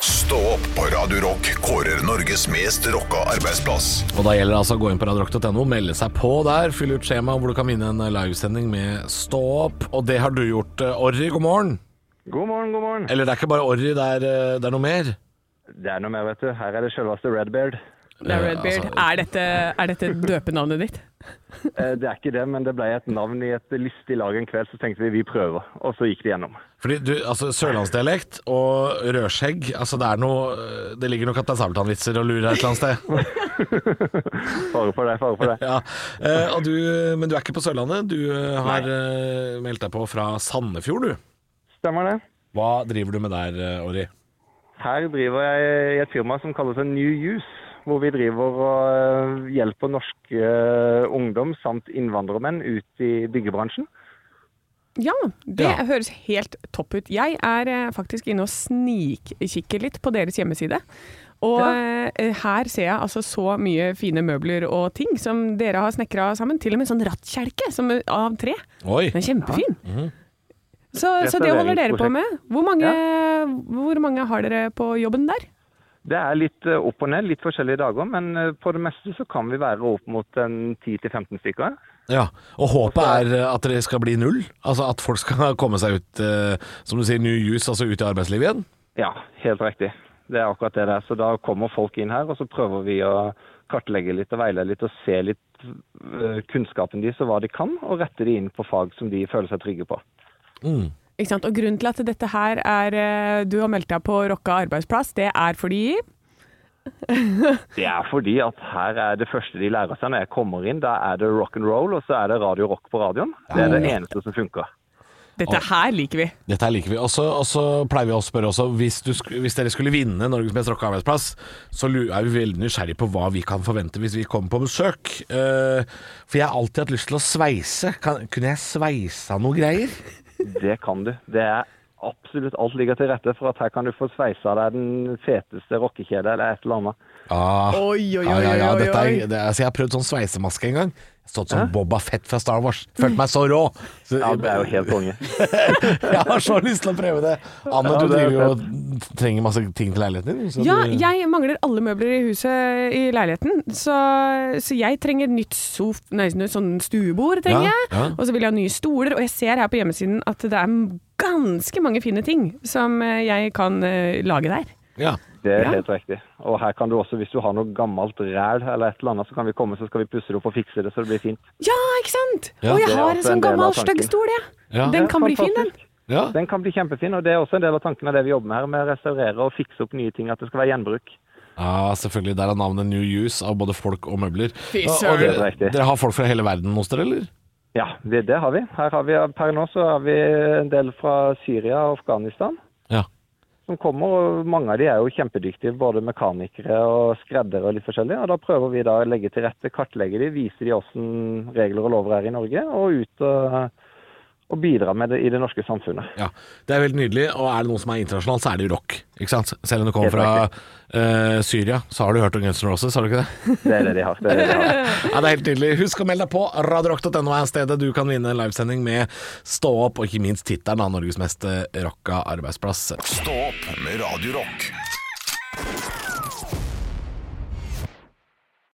Speaker 1: Stå opp på Radio Rock kårer Norges mest rocka arbeidsplass.
Speaker 2: Og da gjelder det altså å gå inn på radiorock.no, melde seg på der, fylle ut skjema hvor du kan vinne en eh, livesending med Stå opp. Og det har du gjort, eh, Orri. God morgen.
Speaker 10: God morgen, god morgen.
Speaker 2: Eller det er ikke bare Orri, det er, eh, det er noe mer.
Speaker 10: Det er noe mer, vet du. Her er det selveste Redbeard.
Speaker 3: Det er Redbeard. Er dette, er dette døpenavnet ditt?
Speaker 10: Eh, Det er ikke det, men det ble et navn i et lystig lag en kveld, så tenkte vi vi prøver. Og så gikk det gjennom.
Speaker 2: Fordi du, altså Sørlandsdialekt og rødskjegg altså Det er noe Det ligger noen Kaptein Sabeltann-vitser og lurer et eller annet sted.
Speaker 10: Fare for det, fare for det.
Speaker 2: Ja. Eh, og du, men du er ikke på Sørlandet. Du eh, har eh, meldt deg på fra Sandefjord, du.
Speaker 10: Stemmer det.
Speaker 2: Hva driver du med der, eh, Orri?
Speaker 10: Her driver jeg i et firma som kalles New Use, hvor vi driver og eh, hjelper norske eh, ungdom samt innvandrermenn ut i byggebransjen.
Speaker 3: Ja, det
Speaker 2: Ja.
Speaker 3: høres helt topp ut. Jeg er eh, faktisk inne og snikkikker litt på deres hjemmeside. Og eh, her ser jeg altså så mye fine møbler og ting som dere har snekra sammen. Til og med en sånn rattkjelke som, av tre.
Speaker 2: Oi!
Speaker 3: Den er kjempefin. Så, så det holder dere på med. Hvor mange, hvor mange har dere på jobben der?
Speaker 10: Det er litt eh, opp og ned, litt forskjellige dager, men eh, på det meste så kan vi være opp mot en 10-15 stykker.
Speaker 2: Ja, Og håpet er eh, at det skal bli null? Altså At folk skal komme seg ut eh, som du sier, new use, altså ut i arbeidslivet igjen?
Speaker 10: Ja, helt riktig. Det er akkurat det det er. Så da kommer folk inn her, og så prøver vi å kartlegge litt og veilede litt og se litt øh, kunnskapen deres og hva de kan, og rette de inn på fag som de føler seg trygge på.
Speaker 3: Ikke sant? Og grunnen til at dette her er eh, Du har meldt deg på Rocka arbeidsplass. Det er fordi
Speaker 10: Det er fordi at her er det første de lærer seg når jeg kommer inn. Da er det rock and roll, og så er det radio rock på radioen. Det er det eneste som funker.
Speaker 3: Dette her liker vi.
Speaker 2: Dette her liker vi. Og så og så pleier vi å spørre også hvis, du, sk- hvis dere skulle vinne Norges mest rocka arbeidsplass, så lu- er vi veldig nysgjerrige på hva vi kan forvente hvis vi kommer på besøk. Eh, for jeg har alltid hatt lyst til å sveise. Kan, kunne jeg sveisa noe greier?
Speaker 10: Det kan du. Det er absolutt alt ligger til rette for at her kan du få sveisa deg den feteste rockekjede eller et eller annet.
Speaker 2: Ah.
Speaker 3: Oi, oi,
Speaker 2: Ja,
Speaker 3: oi,
Speaker 2: ja, ja.
Speaker 3: oi,
Speaker 2: Dette
Speaker 3: oi.
Speaker 2: er, det, altså, jeg har prøvd sånn sveisemaske en gang. Stått som Boba Fett fra Star Wars. Følte meg så rå. Så,
Speaker 10: Ja, det er jo helt konge.
Speaker 2: Jeg har så lyst til å prøve det. Anne,
Speaker 10: Ja,
Speaker 2: du
Speaker 10: det er
Speaker 2: driver jo og trenger masse ting til leiligheten din. så
Speaker 3: Ja,
Speaker 2: du-
Speaker 3: jeg mangler alle møbler i huset i leiligheten, så, så jeg trenger nytt sof... Nei, sånn stuebord trenger
Speaker 2: Ja,
Speaker 3: jeg.
Speaker 2: ja.
Speaker 3: Og så vil jeg ha nye stoler, og jeg ser her på hjemmesiden at det er ganske mange fine ting som eh, jeg kan eh, lage der.
Speaker 2: ja.
Speaker 10: Det er helt riktig. Og her kan du også, hvis du har noe gammelt ræl eller et eller annet, så kan vi komme, så skal vi pusse det opp og fikse det så det blir fint.
Speaker 3: Ja, ikke sant?
Speaker 2: Ja.
Speaker 3: og jeg
Speaker 10: Det er
Speaker 3: har
Speaker 10: også
Speaker 3: en
Speaker 10: en
Speaker 3: sånn
Speaker 10: del av
Speaker 3: gammel
Speaker 10: tanken.
Speaker 3: stygg stol, jeg.
Speaker 2: Ja.
Speaker 3: Den kan bli fin, den.
Speaker 10: Fantastisk.
Speaker 2: ja.
Speaker 10: Den kan bli kjempefin, og det er også en del av tanken av det vi jobber med her, med å restaurere og fikse opp nye ting, at det skal være gjenbruk.
Speaker 2: Ja, selvfølgelig. Der er navnet New Use av både folk og møbler.
Speaker 3: Fy
Speaker 2: Og-
Speaker 3: søren.
Speaker 2: og
Speaker 10: Helt
Speaker 2: dere,
Speaker 10: riktig.
Speaker 2: dere har folk fra hele verden hos dere, eller?
Speaker 10: Ja, det, det har vi. Her har vi per nå så har vi en del fra Syria og Afghanistan
Speaker 2: Ja.
Speaker 10: som kommer, og mange av de er jo kjempedyktige, både mekanikere og skreddere og litt forskjellig, og da prøver vi da å legge til rette, kartlegge de, vise de hvordan regler og lover er i Norge, og ut og, og bidra med det i det norske samfunnet.
Speaker 2: ja. Det er veldig nydelig. Og er det noe som er internasjonalt, så er det jo rock. Ikke sant? Selv om du kommer
Speaker 10: Helt
Speaker 2: fra eh, Syria, så har du hørt om Guns N' Roses, har du ikke det?
Speaker 10: Det er det de har. Det er det de har.
Speaker 2: Ja, det er helt nydelig. Husk å melde deg på. Radiorock.no er stedet du kan vinne en livesending med Stå opp, og ikke minst tittelen av Norges mest eh, rocka arbeidsplass.
Speaker 1: Stå opp med Radio Rock.